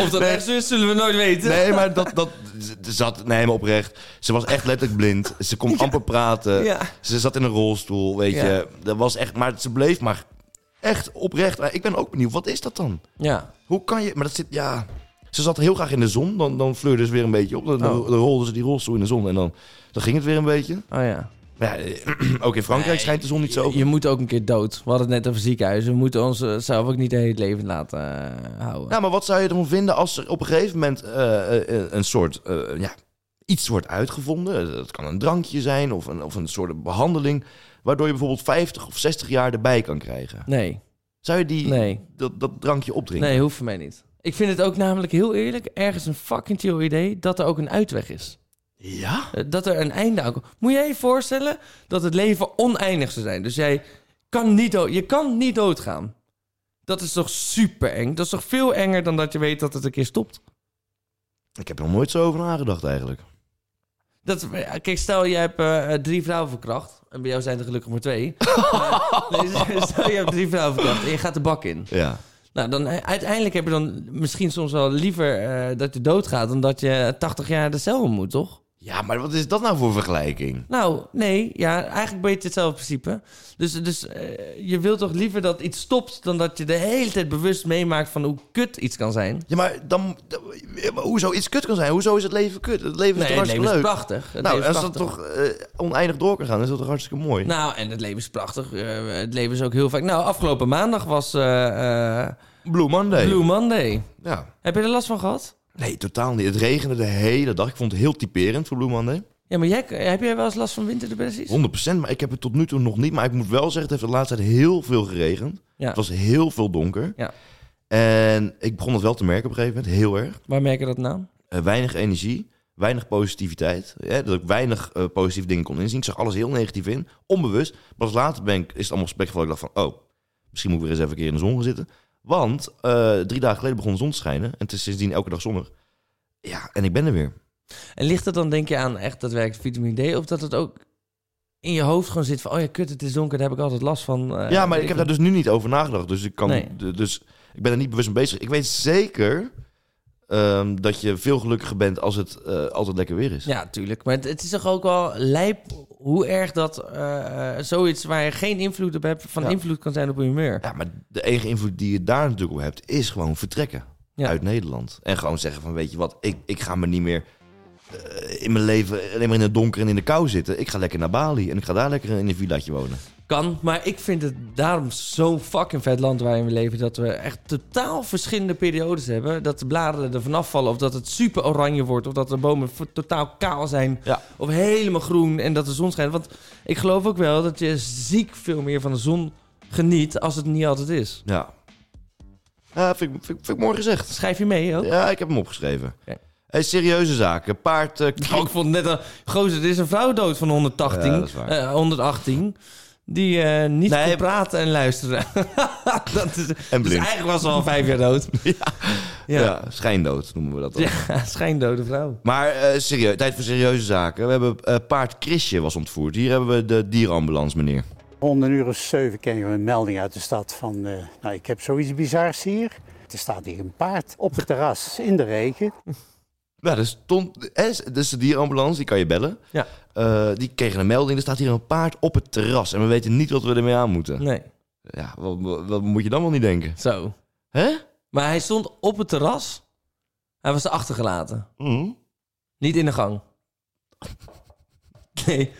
Speaker 2: of dat
Speaker 1: Nee.
Speaker 2: echt zo is, zullen we nooit weten.
Speaker 1: Nee, maar dat, dat ze- ze zat, nee, maar oprecht. Ze was echt letterlijk blind. Ze kon amper praten.
Speaker 2: Ja.
Speaker 1: Ze zat in een rolstoel, weet
Speaker 2: Ja.
Speaker 1: je. Dat was echt, maar ze bleef maar echt oprecht. Maar Ik ben ook benieuwd, wat is dat dan?
Speaker 2: Ja.
Speaker 1: Hoe kan je, maar dat zit, ja. Ze zat heel graag in de zon, dan, dan fleurde ze weer een beetje op. Dan, dan
Speaker 2: Oh.
Speaker 1: rolde ze die rolstoel in de zon en dan, dan ging het weer een beetje.
Speaker 2: Oh ja.
Speaker 1: Maar ja, eh, ook in Frankrijk
Speaker 2: Nee,
Speaker 1: schijnt de zon niet zo.
Speaker 2: Je moet ook een keer dood. We hadden het net over ziekenhuizen. We moeten ons eh, zelf ook niet de hele leven laten eh, houden.
Speaker 1: Ja, maar wat zou je ervan vinden als er op een gegeven moment eh, eh, een soort, eh, ja, iets wordt uitgevonden? Eh, Dat kan een drankje zijn of een, of een soort behandeling, waardoor je bijvoorbeeld 50 of 60 jaar erbij kan krijgen.
Speaker 2: Nee,
Speaker 1: Zou je die,
Speaker 2: nee.
Speaker 1: dat, dat drankje opdrinken?
Speaker 2: Nee, hoeft voor mij niet. Ik vind het ook namelijk heel eerlijk ergens een fucking chill idee dat er ook een uitweg is.
Speaker 1: Ja?
Speaker 2: Eh, Dat er een einde aan komt. Moet jij je voorstellen dat het leven oneindig zou zijn? Dus jij kan niet, do- je kan niet doodgaan. Dat is toch super eng? Dat is toch veel enger dan dat je weet dat het een keer stopt?
Speaker 1: Ik heb er nog nooit zo over nagedacht eigenlijk.
Speaker 2: Dat, ja, kijk, stel je hebt eh, eh, drie vrouwen verkracht. En bij jou zijn er gelukkig maar twee. Maar, nee, stel je hebt drie vrouwen verkracht en je gaat de bak in.
Speaker 1: Ja.
Speaker 2: Nou, dan eh, uiteindelijk heb je dan misschien soms wel liever eh, dat je doodgaat... dan dat je 80 jaar de cel in moet, toch?
Speaker 1: Ja, maar wat is dat nou voor vergelijking?
Speaker 2: Nou, nee, ja, eigenlijk beetje hetzelfde principe. Dus, dus eh, je wilt toch liever dat iets stopt... dan dat je de hele tijd bewust meemaakt van hoe kut iets kan zijn?
Speaker 1: Ja, maar dan, dan- ja, maar hoezo iets kut kan zijn? Hoezo is het leven kut? Het leven is toch
Speaker 2: Nee, het
Speaker 1: hartstikke
Speaker 2: leven is
Speaker 1: leuk?
Speaker 2: prachtig. Het
Speaker 1: Nou,
Speaker 2: leven is
Speaker 1: als dat
Speaker 2: prachtig.
Speaker 1: toch eh, oneindig door kan gaan, is dat toch hartstikke mooi?
Speaker 2: Nou, en het leven is prachtig. Eh, het leven is ook heel vaak... Nou, afgelopen maandag was eh, eh,
Speaker 1: Blue Monday.
Speaker 2: Blue Monday.
Speaker 1: Ja.
Speaker 2: Heb je er last van gehad?
Speaker 1: Nee, totaal niet. Het regende de hele dag. Ik vond het heel typerend voor Blue Monday.
Speaker 2: Ja, maar jij, heb jij wel eens last van winterdepressies?
Speaker 1: 100%, maar ik heb het tot nu toe nog niet. Maar ik moet wel zeggen, het heeft de laatste tijd heel veel geregend.
Speaker 2: Ja.
Speaker 1: Het was heel veel donker.
Speaker 2: Ja.
Speaker 1: En ik begon het wel te merken op een gegeven moment, heel erg.
Speaker 2: Waar merk je dat nou?
Speaker 1: Eh, weinig energie, weinig positiviteit. Ja, dat ik weinig eh, positieve dingen kon inzien. Ik zag alles heel negatief in, onbewust. Pas later ben ik, is het allemaal spekgeval. Ik dacht van, oh, misschien moet ik weer eens even een keer in de zon gaan zitten. Want eh, drie dagen geleden begon de zon te schijnen. En het is sindsdien elke dag zonnig. Ja, en ik ben er weer.
Speaker 2: En ligt het dan, denk je, aan echt dat werkt vitamine D? Of dat het ook in je hoofd gewoon zit van... Oh ja, kut, het is donker, daar heb ik altijd last van. eh,
Speaker 1: Ja, maar
Speaker 2: weet
Speaker 1: ik heb daar dus nu niet over nagedacht. Dus ik, kan,
Speaker 2: Nee.
Speaker 1: d- dus ik ben er niet bewust mee bezig. Ik weet zeker ehm, dat je veel gelukkiger bent als het eh, altijd lekker weer is.
Speaker 2: Ja, tuurlijk. Maar het, het is toch ook wel lijp hoe erg dat eh, zoiets waar je geen invloed op hebt... van
Speaker 1: Ja.
Speaker 2: invloed kan zijn op je humeur.
Speaker 1: Ja, maar de enige invloed die je daar natuurlijk op hebt, is gewoon vertrekken
Speaker 2: Ja.
Speaker 1: uit Nederland. En gewoon zeggen van, weet je wat, ik, ik ga me niet meer eh, in mijn leven alleen maar in het donker en in de kou zitten. Ik ga lekker naar Bali en ik ga daar lekker in een villaatje wonen.
Speaker 2: Kan, maar ik vind het daarom zo'n fucking vet land waarin we leven... dat we echt totaal verschillende periodes hebben. Dat de bladeren er vanaf vallen of dat het super oranje wordt... of dat de bomen v- totaal kaal zijn
Speaker 1: Ja.
Speaker 2: of helemaal groen en dat de zon schijnt. Want ik geloof ook wel dat je ziek veel meer van de zon geniet... als het niet altijd is.
Speaker 1: Ja. Ja, vind, ik, vind, ik- vind ik mooi gezegd.
Speaker 2: Schrijf je mee ook?
Speaker 1: Ja, ik heb hem opgeschreven.
Speaker 2: Oké.
Speaker 1: Hey, serieuze zaken. Paard, eh,
Speaker 2: Oh, ik vond net een... Gozer, er is een vrouw dood van 118.
Speaker 1: Ja, dat is waar.
Speaker 2: eh, 118. Die eh, niet
Speaker 1: Nee,
Speaker 2: kon praten en luisteren. dat is,
Speaker 1: En
Speaker 2: dus
Speaker 1: blind.
Speaker 2: eigenlijk was ze al vijf jaar dood.
Speaker 1: Ja.
Speaker 2: Ja.
Speaker 1: schijndood noemen we dat dan.
Speaker 2: Ja, schijndode vrouw.
Speaker 1: Maar eh, serieus, tijd voor serieuze zaken. We hebben eh, paard Chrisje was ontvoerd. Hier hebben we de dierenambulance, meneer.
Speaker 5: Rond een uur of zeven kregen we een melding uit de stad van, eh, nou ik heb zoiets bizars hier. Er staat hier een paard op het terras in de regen.
Speaker 1: Nou, dus, stond, hè, dus de dierenambulance, die kan je bellen.
Speaker 2: Ja.
Speaker 1: Eh, die kregen een melding. Er staat hier een paard op het terras. En we weten niet wat we ermee aan moeten.
Speaker 2: Nee,
Speaker 1: Ja, wat, wat- wat moet je dan wel niet denken?
Speaker 2: zo.
Speaker 1: Hè?
Speaker 2: Maar hij stond op het terras. Hij was er achtergelaten.
Speaker 1: Mhm.
Speaker 2: Niet in de gang. Nee.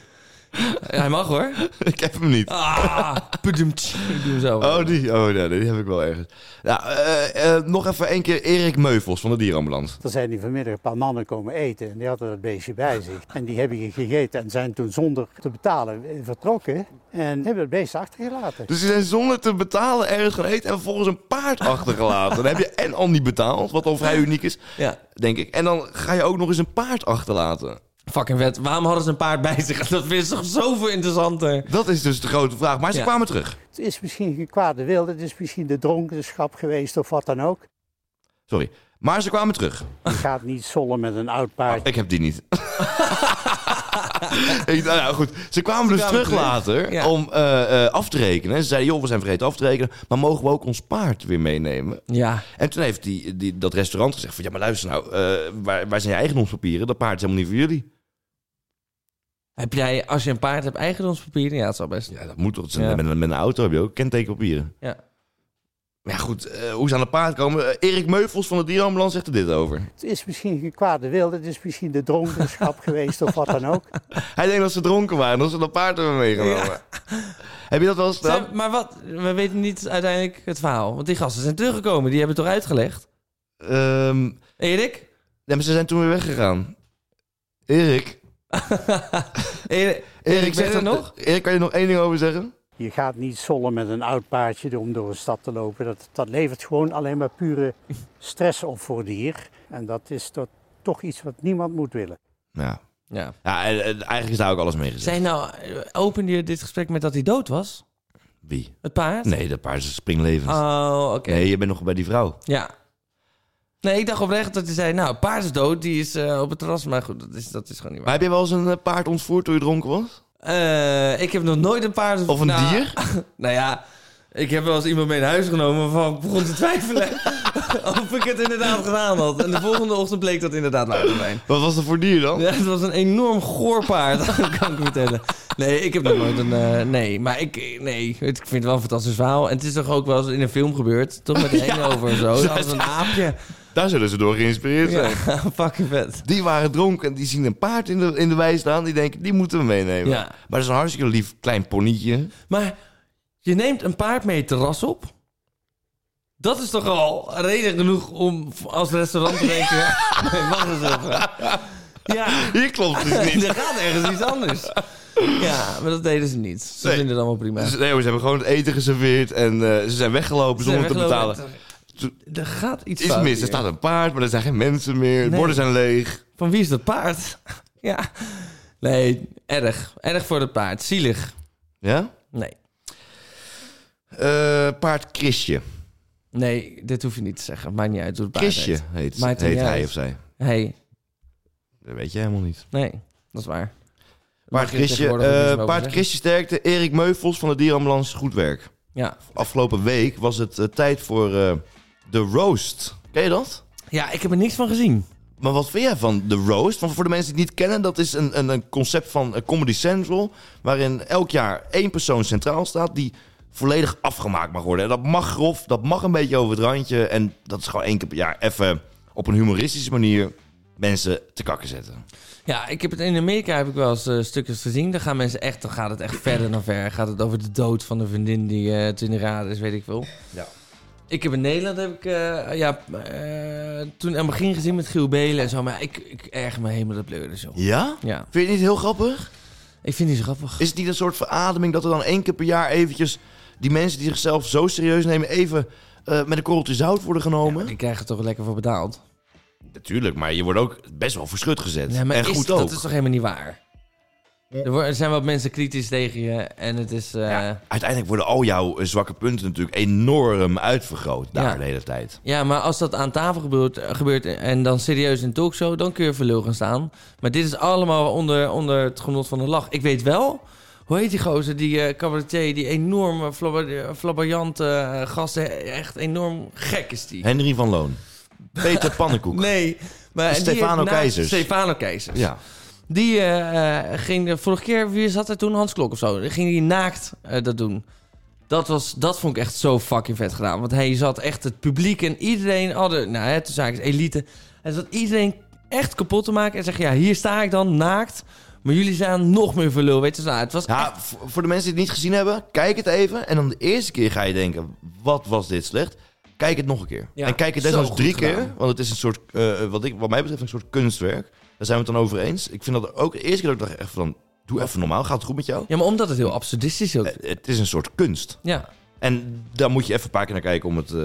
Speaker 2: Hij mag hoor.
Speaker 1: Ik heb hem niet.
Speaker 2: Ah, pedoemtsch. Ik doe hem zo.
Speaker 1: Oh, die, oh nee, die heb ik wel ergens. Nou, eh, eh, nog even één keer Erik Meuvels van de dierenambulance.
Speaker 5: Er zijn die vanmiddag een paar mannen komen eten en die hadden dat beestje bij zich. En die hebben hier gegeten en zijn toen zonder te betalen eh, vertrokken en hebben het beest achtergelaten.
Speaker 1: Dus ze zijn zonder te betalen ergens gaan eten en vervolgens een paard achtergelaten. Dan heb je en al niet betaald, wat al vrij uniek is,
Speaker 2: Ja,
Speaker 1: denk ik. En dan ga je ook nog eens een paard achterlaten.
Speaker 2: fucking vet. Waarom hadden ze een paard bij zich? Dat is toch zoveel interessanter.
Speaker 1: Dat is dus de grote vraag. Maar ze
Speaker 2: Ja.
Speaker 1: kwamen terug.
Speaker 5: Het is misschien geen kwade wil, het is misschien de dronkenschap geweest of wat dan ook.
Speaker 1: Sorry. Maar ze kwamen terug.
Speaker 5: Je gaat niet zollen met een oud paard.
Speaker 1: Ik heb die niet. Ik, nou ja, goed. Ze kwamen dus
Speaker 2: kwamen
Speaker 1: terug,
Speaker 2: terug.
Speaker 1: later
Speaker 2: Ja.
Speaker 1: om eh, eh, af te rekenen. Ze zeiden, joh, we zijn vergeten af te rekenen. Maar mogen we ook ons paard weer meenemen?
Speaker 2: Ja,
Speaker 1: En toen heeft die, die, dat restaurant gezegd van... Ja, maar luister nou, eh, waar, waar zijn je eigendomspapieren? Dat paard is helemaal niet voor jullie.
Speaker 2: heb jij, als je een paard hebt, eigendomspapieren? Ja, dat zal best.
Speaker 1: Ja, dat moet toch.
Speaker 2: Ja.
Speaker 1: Met, een- met een auto heb je ook kentekenpapieren.
Speaker 2: Ja.
Speaker 1: Maar ja, goed, eh, hoe ze aan het paard komen... eh, Erik Meuvels van de dierenambulance zegt er dit over.
Speaker 5: Het is misschien geen kwade wil, het is misschien de dronkenschap geweest of wat dan ook.
Speaker 1: Hij denkt dat ze dronken waren, dat ze dat paard hebben meegenomen. Heb je dat wel eens gedaan?
Speaker 2: Zijn- maar wat, we weten niet uiteindelijk het verhaal. Want die gasten zijn teruggekomen, die hebben het toch uitgelegd?
Speaker 1: Ehm,
Speaker 2: Erik?
Speaker 1: ja, maar ze zijn toen weer weggegaan. Erik...
Speaker 2: Erik,
Speaker 1: Erik,
Speaker 2: Erik zegt er
Speaker 1: dat-
Speaker 2: nog?
Speaker 1: Erik, kan je er nog één ding over zeggen?
Speaker 5: Je gaat niet zollen met een oud paardje om door een stad te lopen. Dat, dat levert gewoon alleen maar pure stress op voor het dier. En dat is toch- toch iets wat niemand moet willen.
Speaker 1: Ja.
Speaker 2: Ja.
Speaker 1: Ja, en- en eigenlijk is daar ook alles mee gezegd.
Speaker 2: Zijn nou, opende je dit gesprek met dat hij dood was?
Speaker 1: Wie?
Speaker 2: Het paard?
Speaker 1: Nee, dat paard is springlevend.
Speaker 2: Oh, oké.
Speaker 1: Nee, je bent nog bij die vrouw.
Speaker 2: Ja. Nee, ik dacht oprecht dat hij zei, nou, paard is dood, die is eh, op het terras. Maar goed, dat is, dat is gewoon niet
Speaker 1: Maar
Speaker 2: waar.
Speaker 1: heb je wel eens een eh, paard ontvoerd toen je dronken was?
Speaker 2: Eh, ik heb nog nooit een paard...
Speaker 1: Of een
Speaker 2: nou,
Speaker 1: dier?
Speaker 2: Nou ja, ik heb wel eens iemand mee naar huis genomen waarvan ik begon te twijfelen of ik het inderdaad gedaan had. En de volgende ochtend bleek dat inderdaad waar te zijn.
Speaker 1: Wat was dat voor dier dan?
Speaker 2: Ja, het was een enorm goor paard, dat kan ik je vertellen. Nee, ik heb nog nooit een... eh, nee, maar ik, nee, het- ik vind het wel een fantastisch verhaal. En het is toch ook wel eens in een film gebeurd, toch met de ene over en zo. Dat was een aapje.
Speaker 1: Daar zullen ze door geïnspireerd
Speaker 2: Ja,
Speaker 1: zijn.
Speaker 2: fucking vet.
Speaker 1: Die waren dronken en die zien een paard in de, in de wei staan. Die denken, die moeten we meenemen.
Speaker 2: Ja.
Speaker 1: Maar dat is een hartstikke lief klein ponietje.
Speaker 2: Maar je neemt een paard mee het terras op. Dat is toch al reden genoeg om als restaurant te denken... Nee, wacht eens even. Ja,
Speaker 1: Hier klopt het niet.
Speaker 2: er gaat ergens iets anders. Ja, maar dat deden ze niet. Ze
Speaker 1: Nee.
Speaker 2: vinden het allemaal prima.
Speaker 1: Dus, nee, hoor, ze hebben gewoon het eten geserveerd en eh, ze zijn weggelopen
Speaker 2: Ze
Speaker 1: zonder
Speaker 2: zijn
Speaker 1: te betalen.
Speaker 2: weggelopen en- Er gaat iets
Speaker 1: Iets
Speaker 2: fout
Speaker 1: mis, er
Speaker 2: hier.
Speaker 1: staat een paard, maar er zijn geen mensen meer. De
Speaker 2: Nee.
Speaker 1: borden zijn leeg.
Speaker 2: Van wie is dat paard? Ja. Nee, erg. Erg voor het paard. Zielig.
Speaker 1: Ja?
Speaker 2: Nee.
Speaker 1: Eh, paard Chrisje.
Speaker 2: Nee, dit hoef je niet te zeggen. Maakt niet uit hoe het paard
Speaker 1: Chrisje
Speaker 2: heet.
Speaker 1: heet,
Speaker 2: Maakt
Speaker 1: heet
Speaker 2: het niet
Speaker 1: hij
Speaker 2: uit.
Speaker 1: of zij.
Speaker 2: Hey,
Speaker 1: Dat weet je helemaal niet.
Speaker 2: nee. Dat is waar.
Speaker 1: Paard
Speaker 2: Mag je
Speaker 1: Chrisje,
Speaker 2: tegenwoordig ook niks meer
Speaker 1: eh,
Speaker 2: over
Speaker 1: paard
Speaker 2: zeggen.
Speaker 1: Chrisje sterkte. Erik Meuvels van de dierenambulance, goed werk.
Speaker 2: Ja.
Speaker 1: Afgelopen week was het eh, tijd voor eh, de roast. Ken je dat?
Speaker 2: ja, ik heb er niks van gezien.
Speaker 1: Maar wat vind jij van de roast? Want voor de mensen die het niet kennen, dat is een, een, een concept van eh, Comedy Central... waarin elk jaar één persoon centraal staat die volledig afgemaakt mag worden. En dat mag grof, dat mag een beetje over het randje... en dat is gewoon één keer per jaar even op een humoristische manier mensen te kakken zetten.
Speaker 2: Ja, ik heb het in Amerika heb ik wel eens eh, stukjes gezien. Dan gaan mensen echt, dan gaat het echt verder dan ver. Gaat het over de dood van de vriendin die eh 20 jaar is, weet ik veel.
Speaker 1: Ja.
Speaker 2: Ik heb in Nederland heb ik, eh, ja, eh, toen aan het begin gezien met Giel Belen en zo. Maar ik, ik erg me helemaal dat pleuren, joh.
Speaker 1: Ja?
Speaker 2: Ja,
Speaker 1: Vind je het niet heel grappig?
Speaker 2: ik vind die zo grappig.
Speaker 1: Is het niet een soort verademing dat er dan één keer per jaar eventjes die mensen die zichzelf zo serieus nemen even eh, met een korreltje zout worden
Speaker 2: Ja, maar
Speaker 1: genomen?
Speaker 2: die krijgen er toch lekker voor betaald?
Speaker 1: Natuurlijk, maar je wordt ook best wel verschut gezet.
Speaker 2: Ja, maar
Speaker 1: en
Speaker 2: is-
Speaker 1: goed ook.
Speaker 2: dat is toch helemaal niet waar? Er, wo- er zijn wat mensen kritisch tegen je en het is... eh,
Speaker 1: Ja, uiteindelijk worden al jouw eh, zwakke punten natuurlijk enorm uitvergroot daar
Speaker 2: Ja.
Speaker 1: de hele tijd.
Speaker 2: Ja, maar als dat aan tafel gebeurt, eh, gebeurt en dan serieus in een talkshow, dan kun je verlul gaan staan. Maar dit is allemaal onder, onder het genot van de lach. Ik weet wel, hoe heet die gozer, die eh cabaretier, die eh, enorme flabba- flabberjante eh, gast, eh, echt enorm gek is die.
Speaker 1: Henry van Loon. Peter Pannenkoek.
Speaker 2: Nee, maar die
Speaker 1: Stefano
Speaker 2: heeft na-
Speaker 1: Keizers.
Speaker 2: Stefano Keizers.
Speaker 1: Ja.
Speaker 2: Die eh, eh, ging de vorige keer, wie zat er toen? Hans Klok of zo. Die Ging die naakt eh, dat doen. Dat, was, dat vond ik echt zo fucking vet gedaan. Want hij zat echt het publiek en iedereen, alle, nou hè, toen zaken elite. Hij zat iedereen echt kapot te maken en zeggen, ja, hier sta ik dan naakt. Maar jullie zijn nog meer verlul, weet je. Nou, het was echt-
Speaker 1: Ja, voor voor de mensen die het niet gezien hebben, kijk het even. En dan de eerste keer ga je denken, wat was dit slecht? Kijk het nog een keer.
Speaker 2: Ja,
Speaker 1: en kijk het
Speaker 2: zo
Speaker 1: desnoods
Speaker 2: goed
Speaker 1: drie
Speaker 2: gedaan.
Speaker 1: keer. Want het is een soort, eh, wat, ik, wat mij betreft, een soort kunstwerk. Daar zijn we het dan over eens. Ik vind dat ook de eerste keer dat ik dacht, echt van, doe even normaal. Gaat het goed met jou?
Speaker 2: Ja, maar omdat het heel absurdistisch is. ook.
Speaker 1: Eh, Het is een soort kunst.
Speaker 2: Ja,
Speaker 1: En daar moet je even een paar keer naar kijken om het eh,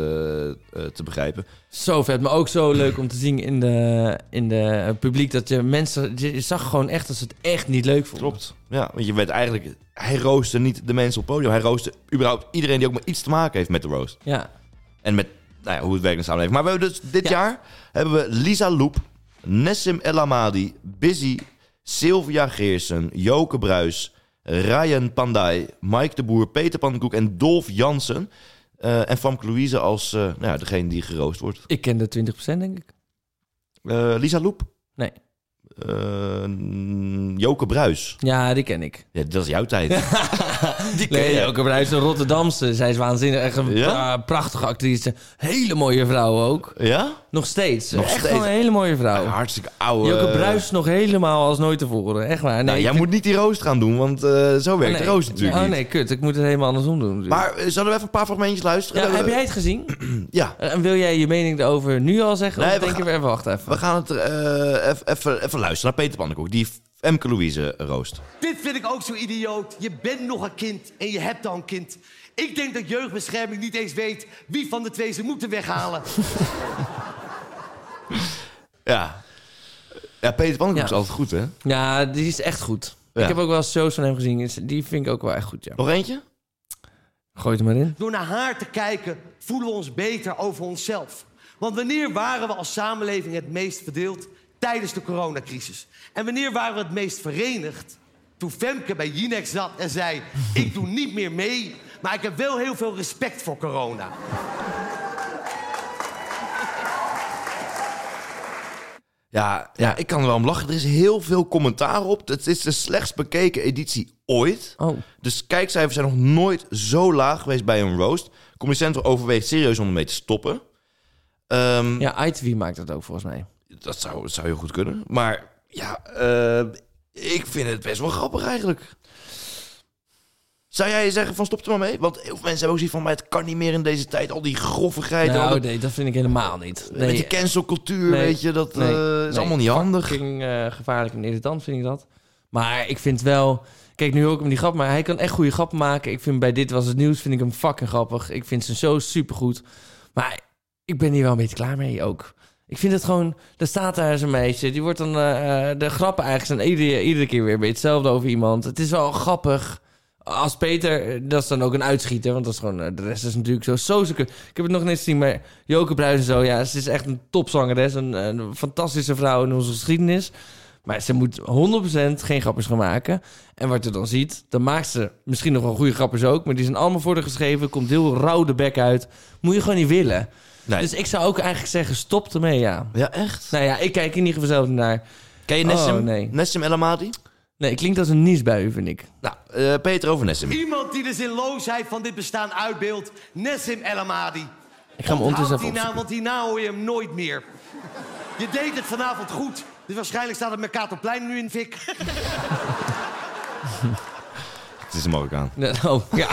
Speaker 1: eh, te begrijpen.
Speaker 2: zo vet. Maar ook zo leuk om te zien in de, in de eh, publiek. Dat je mensen, je zag gewoon echt dat ze het echt niet leuk vonden.
Speaker 1: Klopt. Ja, want je weet eigenlijk, hij rooste niet de mensen op het podium. Hij rooste überhaupt iedereen die ook maar iets te maken heeft met de roast.
Speaker 2: Ja.
Speaker 1: En met nou ja, hoe het werkt in de samenleving. Maar we hebben dus dit
Speaker 2: Ja.
Speaker 1: jaar hebben we Lisa Loep, Nessim El Amadi, Busy, Sylvia Geersen, Joke Bruis, Ryan Pandai, Mike de Boer, Peter Pankoek en Dolf Jansen. Eh, en Famke Louise als eh, nou ja, degene die geroost wordt.
Speaker 2: Ik ken de 20% denk ik.
Speaker 1: Eh, Lisa Loep.
Speaker 2: Nee.
Speaker 1: Eh, Joke Bruis.
Speaker 2: Ja, die ken ik.
Speaker 1: Ja, dat is jouw tijd. Die ken
Speaker 2: nee,
Speaker 1: je.
Speaker 2: ook een is een Rotterdamse. Zij is waanzinnig. Echt een
Speaker 1: Ja?
Speaker 2: pra- prachtige actrice. Hele mooie vrouw ook.
Speaker 1: ja?
Speaker 2: Nog steeds.
Speaker 1: Nog
Speaker 2: echt
Speaker 1: steeds.
Speaker 2: gewoon een hele mooie vrouw.
Speaker 1: Hartstikke oude.
Speaker 2: Oh. Joke Bruis nog helemaal als nooit tevoren. Echt waar. Nee,
Speaker 1: nou,
Speaker 2: ik
Speaker 1: jij
Speaker 2: vind-
Speaker 1: moet niet die roost gaan doen, want eh, zo werkt
Speaker 2: Oh,
Speaker 1: de
Speaker 2: nee.
Speaker 1: roost natuurlijk
Speaker 2: Oh
Speaker 1: niet.
Speaker 2: nee, kut. Ik moet het helemaal andersom doen. natuurlijk.
Speaker 1: Maar eh, zullen we even een paar fragmentjes luisteren?
Speaker 2: ja,
Speaker 1: We-
Speaker 2: heb jij het gezien? Eh,
Speaker 1: Ja.
Speaker 2: En wil jij je mening erover nu al zeggen?
Speaker 1: Nee,
Speaker 2: of
Speaker 1: we
Speaker 2: denk je
Speaker 1: gaan-
Speaker 2: weer even wachten even?
Speaker 1: We gaan het eh, even- even even luisteren naar Peter Pannenkoek, die Emke Louise roost.
Speaker 6: Dit vind ik ook zo idioot. Je bent nog een kind en je hebt al een kind. Ik denk dat jeugdbescherming niet eens weet wie van de twee ze moeten weghalen.
Speaker 1: Ja. Ja, Peter Pannenkoek
Speaker 2: Ja.
Speaker 1: is altijd goed, hè?
Speaker 2: Ja, die is echt goed.
Speaker 1: Ja.
Speaker 2: Ik heb ook wel eens shows van hem gezien. Is- Die vind ik ook wel echt goed, ja.
Speaker 1: Nog eentje?
Speaker 2: Gooi het maar in.
Speaker 6: Door naar haar te kijken voelen we ons beter over onszelf. Want wanneer waren we als samenleving het meest verdeeld? Tijdens de coronacrisis. En wanneer waren we het meest verenigd? Toen Femke bij Jinek zat en zei... ik doe niet meer mee, maar ik heb wel heel veel respect voor corona.
Speaker 1: Ja, ja, ik kan er wel om lachen. Er is heel veel commentaar op. Het is de slechtst bekeken editie ooit.
Speaker 2: Oh.
Speaker 1: Dus kijkcijfers zijn nog nooit zo laag geweest bij een roast. Comedy Central overweegt serieus om ermee te stoppen. Ehm,
Speaker 2: Ja, ITV maakt dat ook volgens mij.
Speaker 1: Dat zou, dat zou heel goed kunnen. Maar ja, eh, ik vind het best wel grappig eigenlijk. Zou jij zeggen van stop er maar mee? Want heel veel mensen hebben ook zoiets van... maar het kan niet meer in deze tijd. Al die groffigheid. en al
Speaker 2: Nou,
Speaker 1: dat-
Speaker 2: nee, dat vind ik helemaal niet. Nee,
Speaker 1: Met die cancelcultuur,
Speaker 2: nee,
Speaker 1: weet je. Dat
Speaker 2: nee,
Speaker 1: eh, is
Speaker 2: nee.
Speaker 1: allemaal niet handig.
Speaker 2: fucking eh, gevaarlijk en irritant vind ik dat. Maar ik vind wel... Kijk, nu hoor ik hem die grap, maar hij kan echt goede grappen maken. Ik vind bij Dit Was Het Nieuws vind ik hem fucking grappig. Ik vind zijn show supergoed. Maar ik ben hier wel een beetje klaar mee ook. Ik vind het gewoon... Er staat daar zo'n meisje. Die wordt dan... eh, eh, de grappen eigenlijk zijn iedere, iedere keer weer een beetje hetzelfde over iemand. Het is wel grappig. Als Peter... eh, Dat is dan ook een uitschieter. Want dat is gewoon... eh, de rest is natuurlijk zo... zo zo- Ik heb het nog net gezien, maar... Joke Bruijs en zo. Ja, ze is echt een topzangeres. Een, een fantastische vrouw in onze geschiedenis. Maar ze moet 100% geen grapjes gaan maken. En wat je dan ziet, dan maakt ze misschien nog wel goede grapjes ook. Maar die zijn allemaal voor haar geschreven. Komt heel rauw de bek uit. Moet je gewoon niet willen.
Speaker 1: Nee.
Speaker 2: Dus ik zou ook eigenlijk zeggen, stop ermee, ja.
Speaker 1: Ja, echt?
Speaker 2: Nou ja, ik kijk in ieder geval zelf niet naar.
Speaker 1: Ken je Nessim?
Speaker 2: Oh, nee.
Speaker 1: Nessim El Amadi?
Speaker 2: Nee, het klinkt als een niesbui, vind ik.
Speaker 1: Nou, eh, Peter over Nessim.
Speaker 6: Iemand die de zinloosheid van dit bestaan uitbeeldt. Nessim El Amadi.
Speaker 2: Ik ga hem ondertussen
Speaker 6: Houd
Speaker 2: even
Speaker 6: die naam,
Speaker 2: opzoeken.
Speaker 7: nou
Speaker 6: want hierna hoor je hem nooit meer. Je deed het vanavond goed. Dus waarschijnlijk staat het Mercatorplein nu in fik.
Speaker 1: Het is een Marokkaan.
Speaker 2: Nee, oh, ja.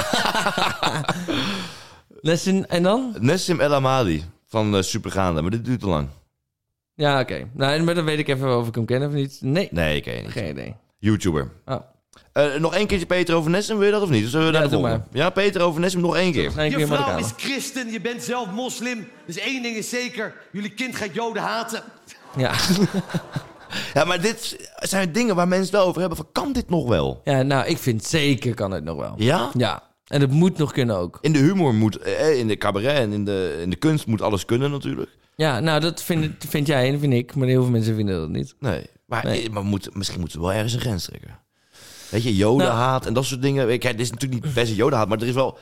Speaker 2: Lessen, en dan?
Speaker 1: Nessim El Amadi van eh, Supergaande. Maar dit duurt te lang.
Speaker 2: Ja, oké. Nou, maar dan weet ik even of ik hem ken of niet. Nee,
Speaker 1: Nee, ken je niet.
Speaker 2: geen idee.
Speaker 1: YouTuber.
Speaker 2: Oh.
Speaker 1: Eh, nog één keertje Peter over Nessim. Wil je dat of niet? Dus zullen we
Speaker 2: Ja,
Speaker 1: naar de
Speaker 2: doe
Speaker 1: volgende? Ja, Peter over Nessim nog één keer.
Speaker 2: Nee, ik
Speaker 6: Je
Speaker 2: ben
Speaker 6: vrouw is
Speaker 2: Marokkaan.
Speaker 6: christen, je bent zelf moslim. Dus één ding is zeker, jullie kind gaat joden haten.
Speaker 2: Ja.
Speaker 1: Ja, maar dit zijn dingen waar mensen het wel over hebben. Van, kan dit nog wel?
Speaker 2: ja, nou, ik vind zeker kan het nog wel.
Speaker 1: Ja?
Speaker 2: Ja. En het moet nog kunnen ook.
Speaker 1: In de humor moet, eh, in de cabaret en in de, in de kunst moet alles kunnen natuurlijk.
Speaker 2: Ja, nou, dat vind, vind jij en vind ik. Maar heel veel mensen vinden dat niet.
Speaker 1: Nee, maar,
Speaker 2: Nee.
Speaker 1: eh, maar moet, misschien moeten we wel ergens een grens trekken. Weet je, jodenhaat
Speaker 2: Nou.
Speaker 1: en dat soort dingen. Kijk, dit is natuurlijk niet best een jodenhaat, maar er is wel...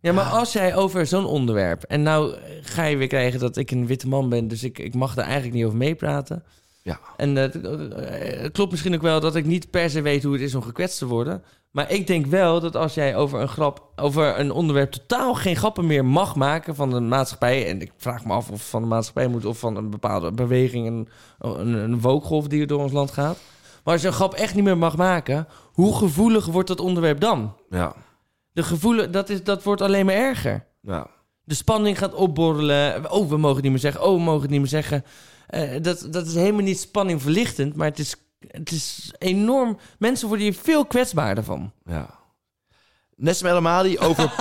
Speaker 2: Ja, maar als jij over zo'n onderwerp... En nou ga je weer krijgen dat ik een witte man ben... dus ik, ik mag daar eigenlijk niet over meepraten.
Speaker 1: Ja,
Speaker 2: En eh, het- eh, het klopt misschien ook wel dat ik niet per se weet hoe het is om gekwetst te worden. Maar ik denk wel dat als jij over een grap, over een onderwerp totaal geen grappen meer mag maken van de maatschappij. En ik vraag me af of van de maatschappij moet of van een bepaalde beweging, een, een, een wokegolf die er door ons land gaat. Maar als je een grap echt niet meer mag maken, hoe gevoelig wordt dat onderwerp dan?
Speaker 1: ja,
Speaker 2: De gevoelen, dat, is, dat wordt alleen maar erger.
Speaker 1: ja.
Speaker 2: De spanning gaat opborrelen. Oh, we mogen het niet meer zeggen. Oh, we mogen het niet meer zeggen. Eh, dat, dat is helemaal niet spanningverlichtend, maar het is, het is enorm. Mensen worden hier veel kwetsbaarder van.
Speaker 1: ja. Nessim El Amadi over,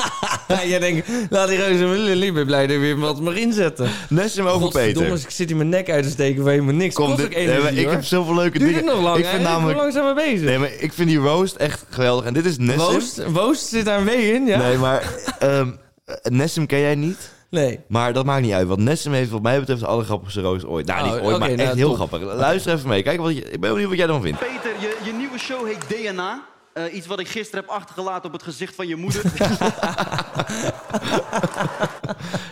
Speaker 2: Ja, jij denkt, laat die reuze willen liever blij er weer wat maar inzetten.
Speaker 1: Nessim over
Speaker 2: Godverdomme,
Speaker 1: Peter.
Speaker 2: ik zit hier mijn nek uit te steken voor helemaal niks. Kost ook
Speaker 1: dit- nee, maar
Speaker 2: energie,
Speaker 1: ik
Speaker 2: hoor.
Speaker 1: heb zoveel leuke
Speaker 2: Duurt het
Speaker 1: dingen.
Speaker 2: nog lang,
Speaker 1: ik vind namelijk,
Speaker 2: langzaam mee bezig.
Speaker 1: nee, maar ik vind die roast echt geweldig. En dit is Nessim.
Speaker 2: Woost, Woost zit daar een W in, ja?
Speaker 1: Nee, maar ehm eh, Nessim ken jij niet?
Speaker 2: Nee.
Speaker 1: Maar dat maakt niet uit, want Nessim heeft wat mij betreft de allergrappigste roos ooit. Nou,
Speaker 2: Oh,
Speaker 1: niet ooit,
Speaker 2: oké,
Speaker 1: maar
Speaker 2: nou,
Speaker 1: echt heel
Speaker 2: top.
Speaker 1: grappig. Luister even mee, kijk wat je, ik ben benieuwd wat jij dan vindt.
Speaker 7: Peter, je, je nieuwe show heet DNA. Eh, iets wat ik gisteren heb achtergelaten op het gezicht van je moeder.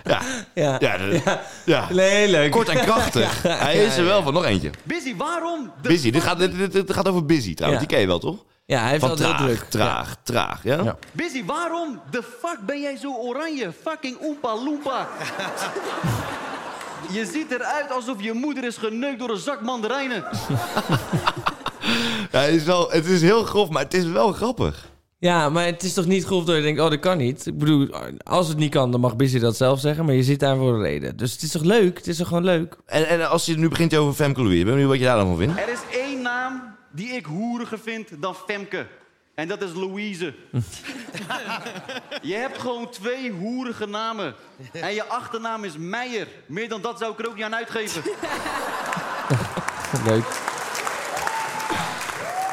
Speaker 1: Ja,
Speaker 2: Ja.
Speaker 1: ja, dat- ja.
Speaker 2: Nee, leuk.
Speaker 1: Kort en krachtig. Hij is er wel van, nog eentje.
Speaker 7: Busy, waarom? De
Speaker 1: Busy, dit gaat, dit, dit- dit gaat over Busy trouwens,
Speaker 2: Ja.
Speaker 1: die ken je wel toch?
Speaker 2: Ja, hij heeft
Speaker 1: Van
Speaker 2: altijd heel
Speaker 1: traag,
Speaker 2: druk.
Speaker 1: traag, traag, ja?
Speaker 2: Ja.
Speaker 7: Busy, waarom? De fuck ben jij zo oranje? Fucking Oompa Loompa. je ziet eruit alsof je moeder is geneukt door een zak mandarijnen.
Speaker 1: Ja, het, is wel, het is heel grof, maar het is wel grappig.
Speaker 2: Ja, maar het is toch niet grof dat je denkt, oh, dat kan niet. Ik bedoel, als het niet kan, dan mag Busy dat zelf zeggen. Maar je zit daar voor een reden. Dus het is toch leuk? Het is toch gewoon leuk?
Speaker 1: En, en als je nu begint over Femke Louis, ik ben benieuwd wat je daar dan van vindt.
Speaker 7: Er is één naam die ik hoeriger vind dan Femke. En dat is Louise. je hebt gewoon twee hoerige namen. En je achternaam is Meijer. Meer dan dat zou ik er ook niet aan uitgeven.
Speaker 2: Leuk.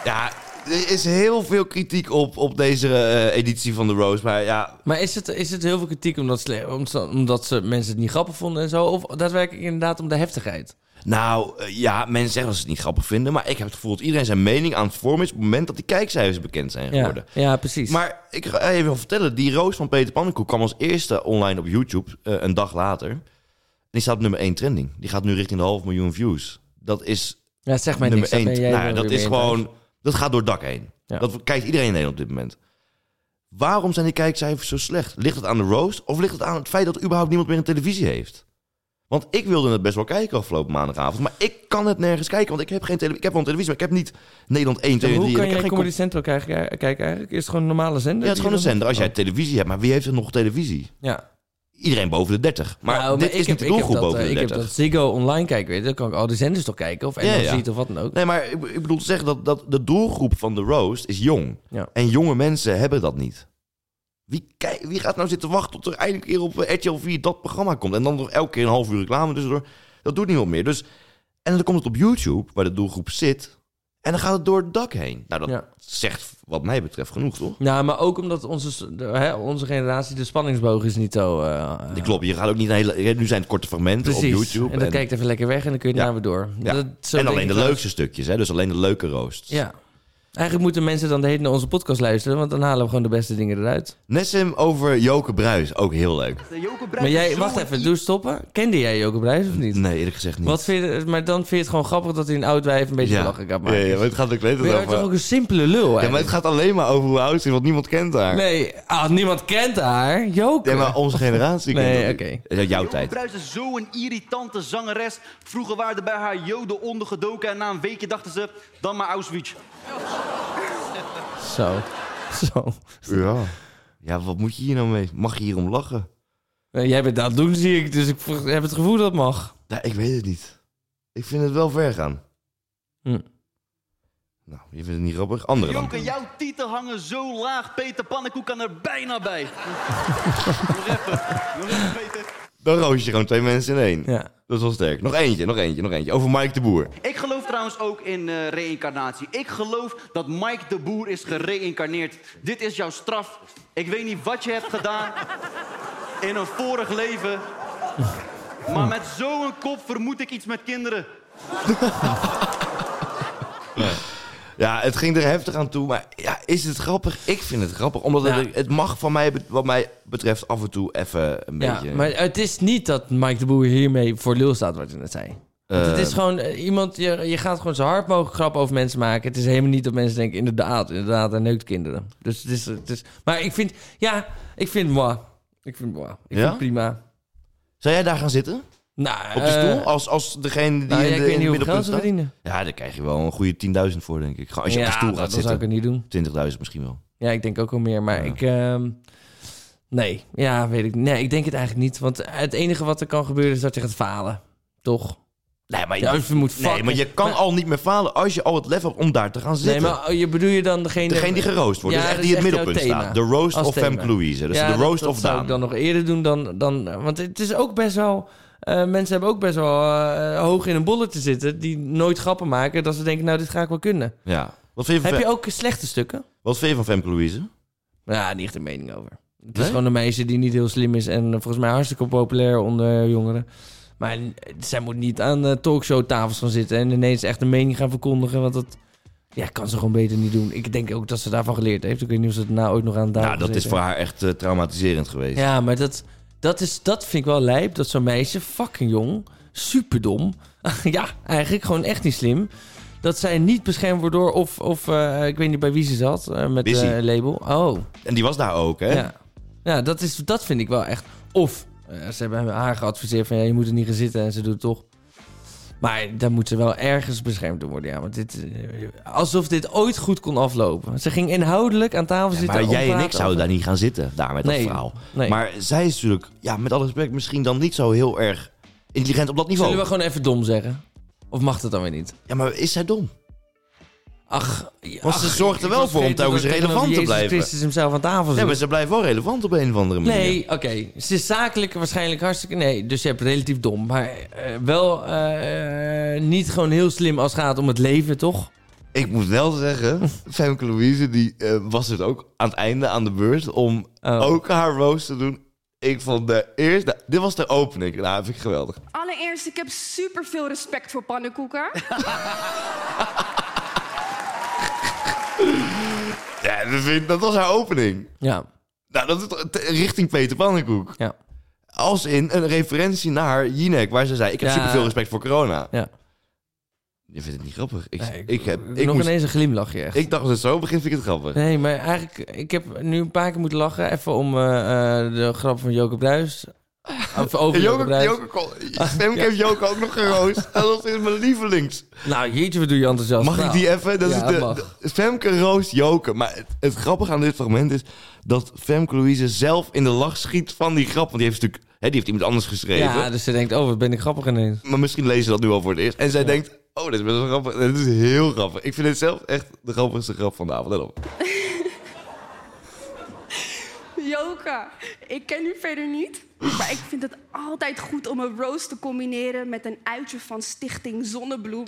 Speaker 1: Ja, er is heel veel kritiek op, op deze eh, editie van The Rose, maar ja...
Speaker 2: Maar is het, is het heel veel kritiek omdat, sle- om- omdat ze, mensen het niet grappig vonden en zo? Of daadwerkelijk inderdaad om de heftigheid?
Speaker 1: Nou, eh, ja, mensen zeggen dat ze het niet grappig vinden, maar ik heb het gevoel dat iedereen zijn mening aan het vormen is op het moment dat die kijkcijfers bekend zijn
Speaker 2: Ja,
Speaker 1: geworden.
Speaker 2: ja precies.
Speaker 1: Maar ik ga even wel vertellen, die Roos van Peter Pannenkoek kwam als eerste online op YouTube eh, een dag later. En die staat op nummer 1 trending. Die gaat nu richting de half miljoen views. Dat is
Speaker 2: ja, zeg maar
Speaker 1: nummer 1.
Speaker 2: niks. dan ben jij
Speaker 1: Nou, ja,
Speaker 2: er
Speaker 1: dat
Speaker 2: weer
Speaker 1: is
Speaker 2: mee thuis.
Speaker 1: gewoon, dat gaat door het dak heen.
Speaker 2: Ja.
Speaker 1: Dat kijkt iedereen in Nederland op dit moment. Waarom zijn die kijkcijfers zo slecht? Ligt het aan de roast of ligt het aan het feit dat überhaupt niemand meer een televisie heeft? Want ik wilde het best wel kijken afgelopen maandagavond, maar ik kan het nergens kijken, want ik heb geen televisie. Ik heb wel een televisie, maar ik heb niet Nederland 1, 2, 3.
Speaker 2: Maar hoe
Speaker 1: en
Speaker 2: kan
Speaker 1: ik
Speaker 2: je
Speaker 1: heb geen
Speaker 2: Comedy Central kijken, kijken eigenlijk? Is het gewoon een normale zender?
Speaker 1: ja, het is
Speaker 2: die
Speaker 1: gewoon een
Speaker 2: je
Speaker 1: zender.
Speaker 2: dan-
Speaker 1: Als jij televisie hebt, maar wie heeft er nog televisie?
Speaker 2: Oh, Ja.
Speaker 1: Iedereen boven de 30. Maar
Speaker 2: Nou,
Speaker 1: dit
Speaker 2: ik
Speaker 1: is
Speaker 2: heb-
Speaker 1: niet de
Speaker 2: ik heb
Speaker 1: doelgroep
Speaker 2: dat,
Speaker 1: boven
Speaker 2: eh,
Speaker 1: de
Speaker 2: Ik heb
Speaker 1: 30.
Speaker 2: dat Ziggo online kijken, weet je. Dan kan ik al die zenders toch kijken. Of
Speaker 1: Ja,
Speaker 2: NLC
Speaker 1: ja.
Speaker 2: of wat dan ook.
Speaker 1: Nee, maar ik, ik bedoel te zeggen dat, dat de doelgroep van de roast is jong.
Speaker 2: Ja.
Speaker 1: En jonge mensen hebben dat niet. Wie, kijk, wie gaat nou zitten wachten tot er eindelijk een keer op eh, RTL 4 dat programma komt? En dan nog elke keer een half uur reclame tussendoor. Dat doet niemand meer. Dus, en dan komt het op YouTube, waar de doelgroep zit. En dan gaat het door het dak heen. Nou, dat
Speaker 2: Ja.
Speaker 1: zegt wat mij betreft genoeg, toch?
Speaker 2: Nou, maar ook omdat onze, s- de- hè, onze generatie, de spanningsboog is niet zo... eh,
Speaker 1: Dat Klopt, je gaat ook niet een hele... Nu zijn het korte fragmenten
Speaker 2: Precies.
Speaker 1: op YouTube.
Speaker 2: En dan kijkt even lekker weg en dan kun je
Speaker 1: Ja.
Speaker 2: daar weer door.
Speaker 1: Ja.
Speaker 2: Dat- zo
Speaker 1: en
Speaker 2: denk
Speaker 1: alleen
Speaker 2: ik
Speaker 1: de
Speaker 2: wel.
Speaker 1: leukste stukjes, hè? dus alleen de leuke roosts.
Speaker 2: Ja. Eigenlijk moeten mensen dan de hele naar onze podcast luisteren, want dan halen we gewoon de beste dingen eruit.
Speaker 1: Nessim over Joke Bruis, ook heel leuk.
Speaker 7: De Joker Bruijs
Speaker 2: Maar
Speaker 7: is
Speaker 2: jij,
Speaker 7: zo'n
Speaker 2: wacht even, doe stoppen. Kende jij Joke Bruijs of niet?
Speaker 1: Nee, eerlijk gezegd niet.
Speaker 2: Wat vind je, maar dan vind je het gewoon grappig dat hij een oud wijf een beetje
Speaker 1: ja.
Speaker 2: lachen kan
Speaker 1: ja,
Speaker 2: maken.
Speaker 1: ja, maar het gaat ook weet het
Speaker 2: Maar je bent toch
Speaker 1: over...
Speaker 2: ook een simpele lul,
Speaker 1: Ja, maar het
Speaker 2: eigenlijk?
Speaker 1: gaat alleen maar over hoe oud ze is, want niemand kent haar.
Speaker 2: Nee, ah, niemand kent haar. Joke.
Speaker 1: Ja, maar onze generatie
Speaker 2: Nee,
Speaker 1: kent haar.
Speaker 2: oké.
Speaker 1: Ja, Jouw
Speaker 7: Joke
Speaker 1: tijd.
Speaker 7: Bruijs is zo'n irritante zangeres. Vroeger waren er bij haar joden ondergedoken en na een weekje dachten ze, dan maar Auschwitz.
Speaker 2: Zo. Zo.
Speaker 1: Ja. ja, wat moet je hier nou mee? Mag je hierom lachen?
Speaker 2: Nee, Jij bent aan het doen, zie ik, dus ik v- heb het gevoel dat het mag.
Speaker 1: Ja, ik weet het niet. Ik vind het wel ver gaan.
Speaker 2: Hm.
Speaker 1: Nou, je vindt het niet grappig. Andere dan.
Speaker 7: Joke, jouw tieten hangen zo laag. Peter Pannenkoek kan er bijna bij. nog even, nog even Peter.
Speaker 1: Dan roos je gewoon twee mensen in één.
Speaker 2: Ja.
Speaker 1: Dat is wel sterk. Nog eentje, nog eentje, nog eentje. Over Mike de Boer.
Speaker 7: Ik geloof trouwens ook in eh reïncarnatie. Ik geloof dat Mike de Boer is gereïncarneerd. Dit is jouw straf. Ik weet niet wat je hebt gedaan in een vorig leven. Maar met zo'n kop vermoed ik iets met kinderen.
Speaker 1: Ja, het ging er heftig aan toe. Maar ja, is het grappig? Ik vind het grappig. Omdat
Speaker 2: Ja.
Speaker 1: het, het mag van mij, wat mij betreft af en toe even een
Speaker 2: Ja,
Speaker 1: beetje...
Speaker 2: maar het is niet dat Mike de Boer hiermee voor lul staat, wat je net zei. Want het
Speaker 1: Eh,
Speaker 2: is gewoon eh, iemand, je, je gaat gewoon zo hard mogelijk grappen over mensen maken. Het is helemaal niet dat mensen denken, inderdaad, inderdaad, hij neukt kinderen. Dus het is, het is maar ik vind, ja, ik vind moi. Ik vind moi. Ik vind
Speaker 1: Ja?
Speaker 2: het prima.
Speaker 1: Zou jij daar gaan zitten?
Speaker 2: Nou,
Speaker 1: Op de stoel?
Speaker 2: eh,
Speaker 1: Als, als degene die
Speaker 2: nou, ja,
Speaker 1: in
Speaker 2: ik
Speaker 1: de,
Speaker 2: weet
Speaker 1: in
Speaker 2: niet
Speaker 1: het
Speaker 2: hoeveel geld
Speaker 1: middelpunt
Speaker 2: ze
Speaker 1: staat?
Speaker 2: verdienen.
Speaker 1: Ja, daar krijg je wel een goede 10.000 voor, denk ik. Gewoon Als je
Speaker 2: ja,
Speaker 1: op de stoel
Speaker 2: dat
Speaker 1: gaat
Speaker 2: zou ik
Speaker 1: zitten.
Speaker 2: het niet doen.
Speaker 1: 20.000 misschien wel.
Speaker 2: Ja, ik denk ook wel meer, maar
Speaker 1: Ja.
Speaker 2: ik... ehm, nee, ja, weet ik Nee, ik denk het eigenlijk niet. Want het enige wat er kan gebeuren is dat je gaat falen. Toch?
Speaker 1: Nee, maar je,
Speaker 2: Ja, of je moet
Speaker 1: nee,
Speaker 2: fucken.
Speaker 1: maar je kan
Speaker 2: Maar-
Speaker 1: al niet meer falen als je al het lef hebt om daar te gaan
Speaker 2: Nee,
Speaker 1: zitten.
Speaker 2: maar oh, je bedoel je dan degene...
Speaker 1: Degene die geroost wordt,
Speaker 2: Ja,
Speaker 1: dus echt
Speaker 2: dat
Speaker 1: die in
Speaker 2: is
Speaker 1: het
Speaker 2: echt jouw
Speaker 1: middelpunt
Speaker 2: thema.
Speaker 1: staat. De roast
Speaker 2: Als
Speaker 1: of
Speaker 2: thema.
Speaker 1: Femke Louise. Dus
Speaker 2: Ja,
Speaker 1: de roast
Speaker 2: dat,
Speaker 1: of
Speaker 2: dat zou ik
Speaker 1: Daan.
Speaker 2: dan nog eerder doen dan... dan want het is ook best wel... eh, mensen hebben ook best wel eh, hoog in een bolletje zitten... die nooit grappen maken dat ze denken... nou, dit ga ik wel kunnen.
Speaker 1: Ja. Wat, vind je van
Speaker 2: Heb Nou, je
Speaker 1: Fem-
Speaker 2: ook slechte stukken?
Speaker 1: wat vind je van Femke Louise?
Speaker 2: Ja, niet echt een mening over. Het is gewoon een meisje die niet heel slim is en eh, volgens mij hartstikke populair onder jongeren. Maar eh, zij moet niet aan eh, talkshowtafels gaan zitten en ineens echt een mening gaan verkondigen. Want dat ja, kan ze gewoon beter niet doen. Ik denk ook dat ze daarvan geleerd heeft. Ik weet niet of ze het nou ooit nog aan het
Speaker 1: Nou, dat is voor haar echt eh, traumatiserend geweest.
Speaker 2: Ja, maar dat, dat, is, dat vind ik wel lijp. Dat zo'n meisje, fucking jong, superdom. ja, eigenlijk gewoon echt niet slim. Dat zij niet beschermd wordt door, of, of eh, ik weet niet bij wie ze zat, eh, met
Speaker 1: Busy.
Speaker 2: eh, label. Oh,
Speaker 1: En die was daar ook, hè?
Speaker 2: ja. Ja, dat, is, dat vind ik wel echt. Of eh, ze hebben haar geadviseerd van ja, je moet er niet gaan zitten en ze doet het toch. Maar dan moet ze wel ergens beschermd door worden. Ja, want dit, eh, alsof dit ooit goed kon aflopen. Ze ging inhoudelijk aan tafel
Speaker 1: Ja,
Speaker 2: zitten.
Speaker 1: maar
Speaker 2: om
Speaker 1: jij en
Speaker 2: praten
Speaker 1: ik zouden
Speaker 2: over-
Speaker 1: daar niet gaan zitten, daar met dat
Speaker 2: Nee,
Speaker 1: verhaal.
Speaker 2: nee.
Speaker 1: Maar zij is natuurlijk, ja, met alle respect, misschien dan niet zo heel erg intelligent op dat niveau.
Speaker 2: Zullen we gewoon even dom zeggen? Of mag dat dan weer niet?
Speaker 1: Ja, maar is zij dom?
Speaker 2: Ach, ja,
Speaker 1: Want ze
Speaker 2: ach,
Speaker 1: zorgt er
Speaker 2: ik
Speaker 1: wel
Speaker 2: was
Speaker 1: voor om
Speaker 2: vergeten
Speaker 1: telkens
Speaker 2: dat ik
Speaker 1: relevant
Speaker 2: tegenover
Speaker 1: te blijven.
Speaker 2: Jezus Christus hemzelf aan tafel
Speaker 1: Ja,
Speaker 2: zit.
Speaker 1: maar ze blijft wel relevant op een of andere manier.
Speaker 2: Nee, oké. Ze is zakelijk waarschijnlijk hartstikke... Nee, dus je hebt relatief dom. Maar eh, wel eh, niet gewoon heel slim als het gaat om het leven, toch?
Speaker 1: Ik moet wel zeggen, Femke Louise die, eh, was het ook aan het einde aan de beurt om
Speaker 2: Oh.
Speaker 1: ook haar roast te doen. Ik vond de eerste, dit was de opening, nou vind ik geweldig.
Speaker 8: Allereerst, ik heb super veel respect voor pannenkoeken.
Speaker 1: Ja, dat, vind- dat was haar opening.
Speaker 2: Ja,
Speaker 1: Nou, dat is toch- t- richting Peter Pannenkoek.
Speaker 2: ja,
Speaker 1: Als in een referentie naar Jinek, waar ze zei: Ik heb
Speaker 2: Ja.
Speaker 1: superveel respect voor corona.
Speaker 2: ja.
Speaker 1: Je vindt het niet grappig. Ik,
Speaker 2: Nee,
Speaker 1: ik, heb, ik,
Speaker 2: Nog
Speaker 1: moest-
Speaker 2: ineens een e- glimlachje, echt.
Speaker 1: ik dacht dat het zo begint, vind ik het grappig.
Speaker 2: Nee, maar eigenlijk... Ik heb nu een paar keer moeten lachen. Even om eh, eh, de grap van Joke Bruis. Of over
Speaker 1: En
Speaker 2: Joke
Speaker 1: Joko,
Speaker 2: Bruis.
Speaker 1: Joko, kon- Femke heeft Joko ook nog geroost. En dat is mijn lievelings.
Speaker 2: Nou, jeetje, wat doe je enthousiast.
Speaker 1: Mag ik
Speaker 2: Nou,
Speaker 1: die even? Dat
Speaker 2: ja,
Speaker 1: is de,
Speaker 2: mag.
Speaker 1: de- Femke roost Joke. Maar het, het grappige aan dit fragment is dat Femke Louise zelf in de lach schiet van die grap. Want die heeft natuurlijk hè, die heeft iemand anders geschreven.
Speaker 2: Ja, dus ze denkt, oh, wat ben ik grappig ineens.
Speaker 1: Maar misschien lezen ze dat nu al voor het eerst. En zij denkt, oh, dit is best wel grappig. Dit is heel grappig. Ik vind dit zelf echt de grappigste grap van de avond. Let op.
Speaker 8: Joka, ik ken u verder niet. Maar ik vind het altijd goed om een roast te combineren met een uitje van Stichting Zonnebloem.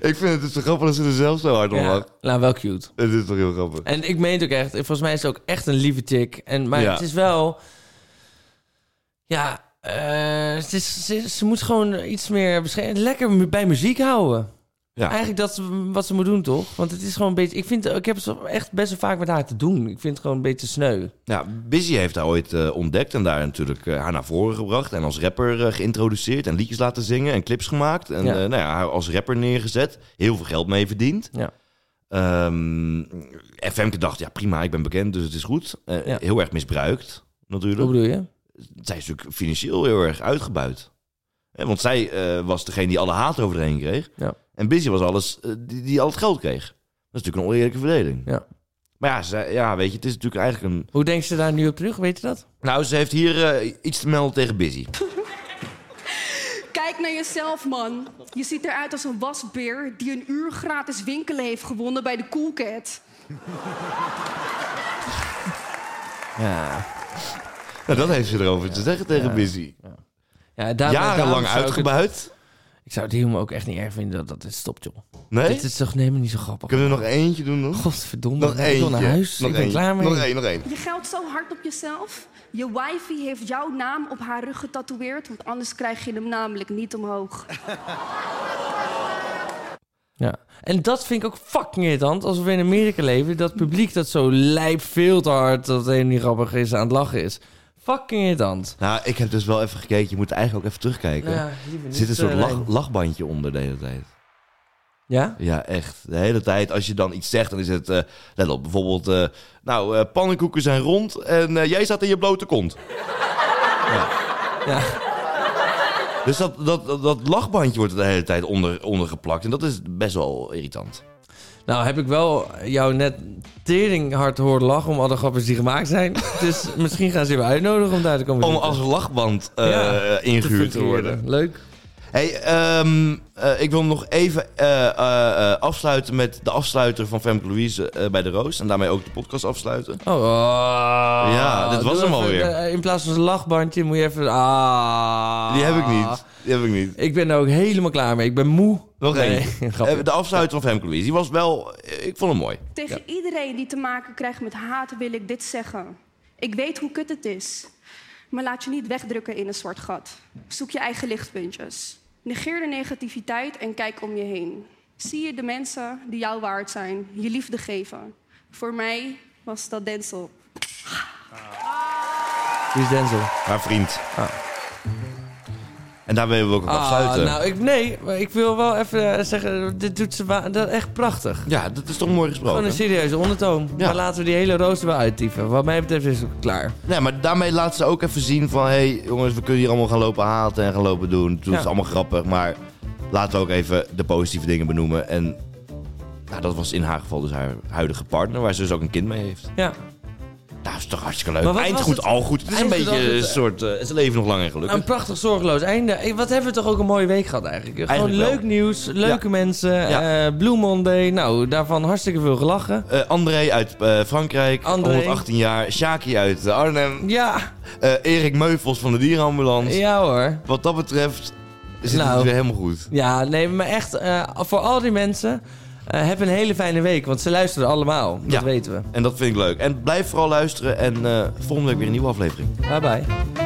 Speaker 1: Ik vind het dus zo grappig dat ze er zelf zo hard om
Speaker 2: Ja.
Speaker 1: lacht.
Speaker 2: Nou, wel cute.
Speaker 1: Het is toch heel grappig.
Speaker 2: En ik meen het ook echt. Volgens mij is ze ook echt een lieve chick. En, maar
Speaker 1: Ja.
Speaker 2: het is wel... Ja, eh, het is, ze, ze moet gewoon iets meer... beschermen. Lekker mu- bij muziek houden.
Speaker 1: Ja.
Speaker 2: Eigenlijk dat is wat ze moet doen, toch? Want het is gewoon een beetje... Ik, vind, ik heb het echt best wel vaak met haar te doen. Ik vind het gewoon een beetje sneu.
Speaker 1: Ja, Busy heeft haar ooit eh, ontdekt en daar natuurlijk eh, haar naar voren gebracht. En als rapper eh, geïntroduceerd en liedjes laten zingen en clips gemaakt. En
Speaker 2: Ja.
Speaker 1: eh, nou ja, haar als rapper neergezet. Heel veel geld mee verdiend.
Speaker 2: Ja.
Speaker 1: Ehm, en Femke dacht, ja prima, ik ben bekend, dus het is goed. Eh,
Speaker 2: Ja.
Speaker 1: Heel erg misbruikt,
Speaker 2: Hoe
Speaker 1: natuurlijk.
Speaker 2: bedoel je?
Speaker 1: zij is natuurlijk financieel heel erg uitgebuit. Hè, want zij eh, was degene die alle haat overheen kreeg.
Speaker 2: Ja.
Speaker 1: En Busy was alles eh, die, die al het geld kreeg. Dat is natuurlijk een oneerlijke verdeling.
Speaker 2: Ja.
Speaker 1: Maar ja, zij- ja, weet je, het is natuurlijk eigenlijk een...
Speaker 2: Hoe denkt ze daar nu op terug? Weet je dat?
Speaker 1: Nou, ze heeft hier eh, iets te melden tegen Busy.
Speaker 8: Kijk naar jezelf, man. Je ziet eruit als een wasbeer die een uur gratis winkelen heeft gewonnen bij de Cool Cat.
Speaker 2: Ja.
Speaker 1: Nou, dat heeft ze erover te zeggen tegen Busy.
Speaker 2: ja daar, daarom
Speaker 1: Jarenlang
Speaker 2: zou ik het-
Speaker 1: uitgebuit.
Speaker 2: Ik zou het helemaal ook echt niet erg vinden dat dat dit stopt, joh.
Speaker 1: Nee?
Speaker 2: Dit is toch helemaal niet zo grappig.
Speaker 1: Kunnen we er nog eentje doen nog?
Speaker 2: Godverdomme,
Speaker 1: nog
Speaker 2: ik wil naar huis.
Speaker 1: Nog
Speaker 2: ik ben
Speaker 1: eentje.
Speaker 2: klaar mee.
Speaker 1: Nog één, nog één.
Speaker 8: Je geldt zo hard op jezelf. Je wifi heeft jouw naam op haar rug getatoeëerd, want anders krijg je hem namelijk niet omhoog.
Speaker 2: Ja. En dat vind ik ook fucking irritant. Als we in Amerika leven, dat publiek dat zo lijp veel te hard, dat helemaal niet grappig is, aan het lachen is. Fucking irritant.
Speaker 1: Nou, ik heb dus wel even gekeken. Je moet eigenlijk ook even terugkijken.
Speaker 2: Nou ja, liever
Speaker 1: er
Speaker 2: niet,
Speaker 1: zit een soort
Speaker 2: eh,
Speaker 1: lach,
Speaker 2: Rijn.
Speaker 1: lachbandje onder de hele tijd.
Speaker 2: Ja?
Speaker 1: Ja, echt. De hele tijd, als je dan iets zegt, dan is het... eh, let op, bijvoorbeeld... eh, nou, eh, pannenkoeken zijn rond en eh, jij zat in je blote kont.
Speaker 2: Ja.
Speaker 1: Dus dat, dat, dat, dat lachbandje wordt er de hele tijd onder, ondergeplakt. En dat is best wel irritant.
Speaker 2: Nou, heb ik wel jou net tering hard horen lachen om alle grappers die gemaakt zijn. Dus misschien gaan ze je weer uitnodigen om daar te komen
Speaker 1: Om
Speaker 2: zitten.
Speaker 1: als lachband eh,
Speaker 2: Ja.
Speaker 1: ingehuurd te
Speaker 2: Fungeren.
Speaker 1: worden.
Speaker 2: Leuk.
Speaker 1: Hey, ehm, eh, ik wil nog even eh, eh, eh, afsluiten met de afsluiter van Femke Louise eh, bij de Roos. En daarmee ook de podcast afsluiten.
Speaker 2: Oh, ah.
Speaker 1: Ja, dit was
Speaker 2: Doe
Speaker 1: hem
Speaker 2: even,
Speaker 1: alweer.
Speaker 2: eh, In plaats van een lachbandje moet je even... Ah.
Speaker 1: Die heb ik niet. Die heb ik niet.
Speaker 2: Ik ben er ook helemaal klaar mee. Ik ben moe.
Speaker 1: Nog één.
Speaker 2: Nee, grapje.
Speaker 1: Eh, de afsluiter van Femke Louise. Die was wel... eh, Ik vond hem mooi.
Speaker 8: Tegen iedereen die te maken krijgt met haat wil ik dit zeggen. Ik weet hoe kut het is. Maar laat je niet wegdrukken in een zwart gat. Zoek je eigen lichtpuntjes. Negeer de negativiteit en kijk om je heen. Zie je de mensen die jou waard zijn, je liefde geven. Voor mij was dat Denzel.
Speaker 2: Wie is Denzel?
Speaker 1: Haar vriend. En daarmee willen we ook afsluiten.
Speaker 2: Ah, nou, ik, nee, maar ik wil wel even eh, zeggen, dit doet ze wa- dat echt prachtig.
Speaker 1: Ja, dat is toch mooi
Speaker 2: Gewoon
Speaker 1: gesproken.
Speaker 2: een serieuze ondertoon.
Speaker 1: Ja.
Speaker 2: Maar laten we die hele rooster wel uittieven. Wat mij betreft is het klaar.
Speaker 1: Nee, maar daarmee laat ze ook even zien van... Hé, hey, jongens, we kunnen hier allemaal gaan lopen haten en gaan lopen doen. Toen
Speaker 2: Ja.
Speaker 1: is het allemaal grappig, maar... Laten we ook even de positieve dingen benoemen. En nou, dat was in haar geval dus haar huidige partner... waar ze dus ook een kind mee heeft.
Speaker 2: Ja.
Speaker 1: Nou, is toch hartstikke leuk.
Speaker 2: Maar wat
Speaker 1: Eind
Speaker 2: was
Speaker 1: goed,
Speaker 2: het?
Speaker 1: al goed. Het is een
Speaker 2: Eind goed, al
Speaker 1: beetje
Speaker 2: goed.
Speaker 1: een soort... eh, ze leven nog lang en gelukkig.
Speaker 2: Nou, een prachtig zorgeloos einde. Hey, wat hebben we toch ook een mooie week gehad eigenlijk. Gewoon
Speaker 1: Eigenlijk
Speaker 2: leuk
Speaker 1: wel.
Speaker 2: nieuws, leuke mensen,
Speaker 1: Ja.
Speaker 2: eh, Blue Monday. Nou, daarvan hartstikke veel gelachen.
Speaker 1: Eh, André uit eh, Frankrijk,
Speaker 2: André.
Speaker 1: 118 jaar. Shaki uit eh, Arnhem.
Speaker 2: Ja,
Speaker 1: Eh, Erik Meuvels van de dierenambulance.
Speaker 2: ja hoor.
Speaker 1: Wat dat betreft zit
Speaker 2: Nou.
Speaker 1: het weer helemaal goed.
Speaker 2: Ja, nee, maar echt, eh, voor al die mensen, eh, heb een hele fijne week. Want ze luisteren allemaal, dat
Speaker 1: Ja.
Speaker 2: weten we.
Speaker 1: En dat vind ik leuk. En blijf vooral luisteren en eh volgende week weer een nieuwe aflevering.
Speaker 2: Bye bye.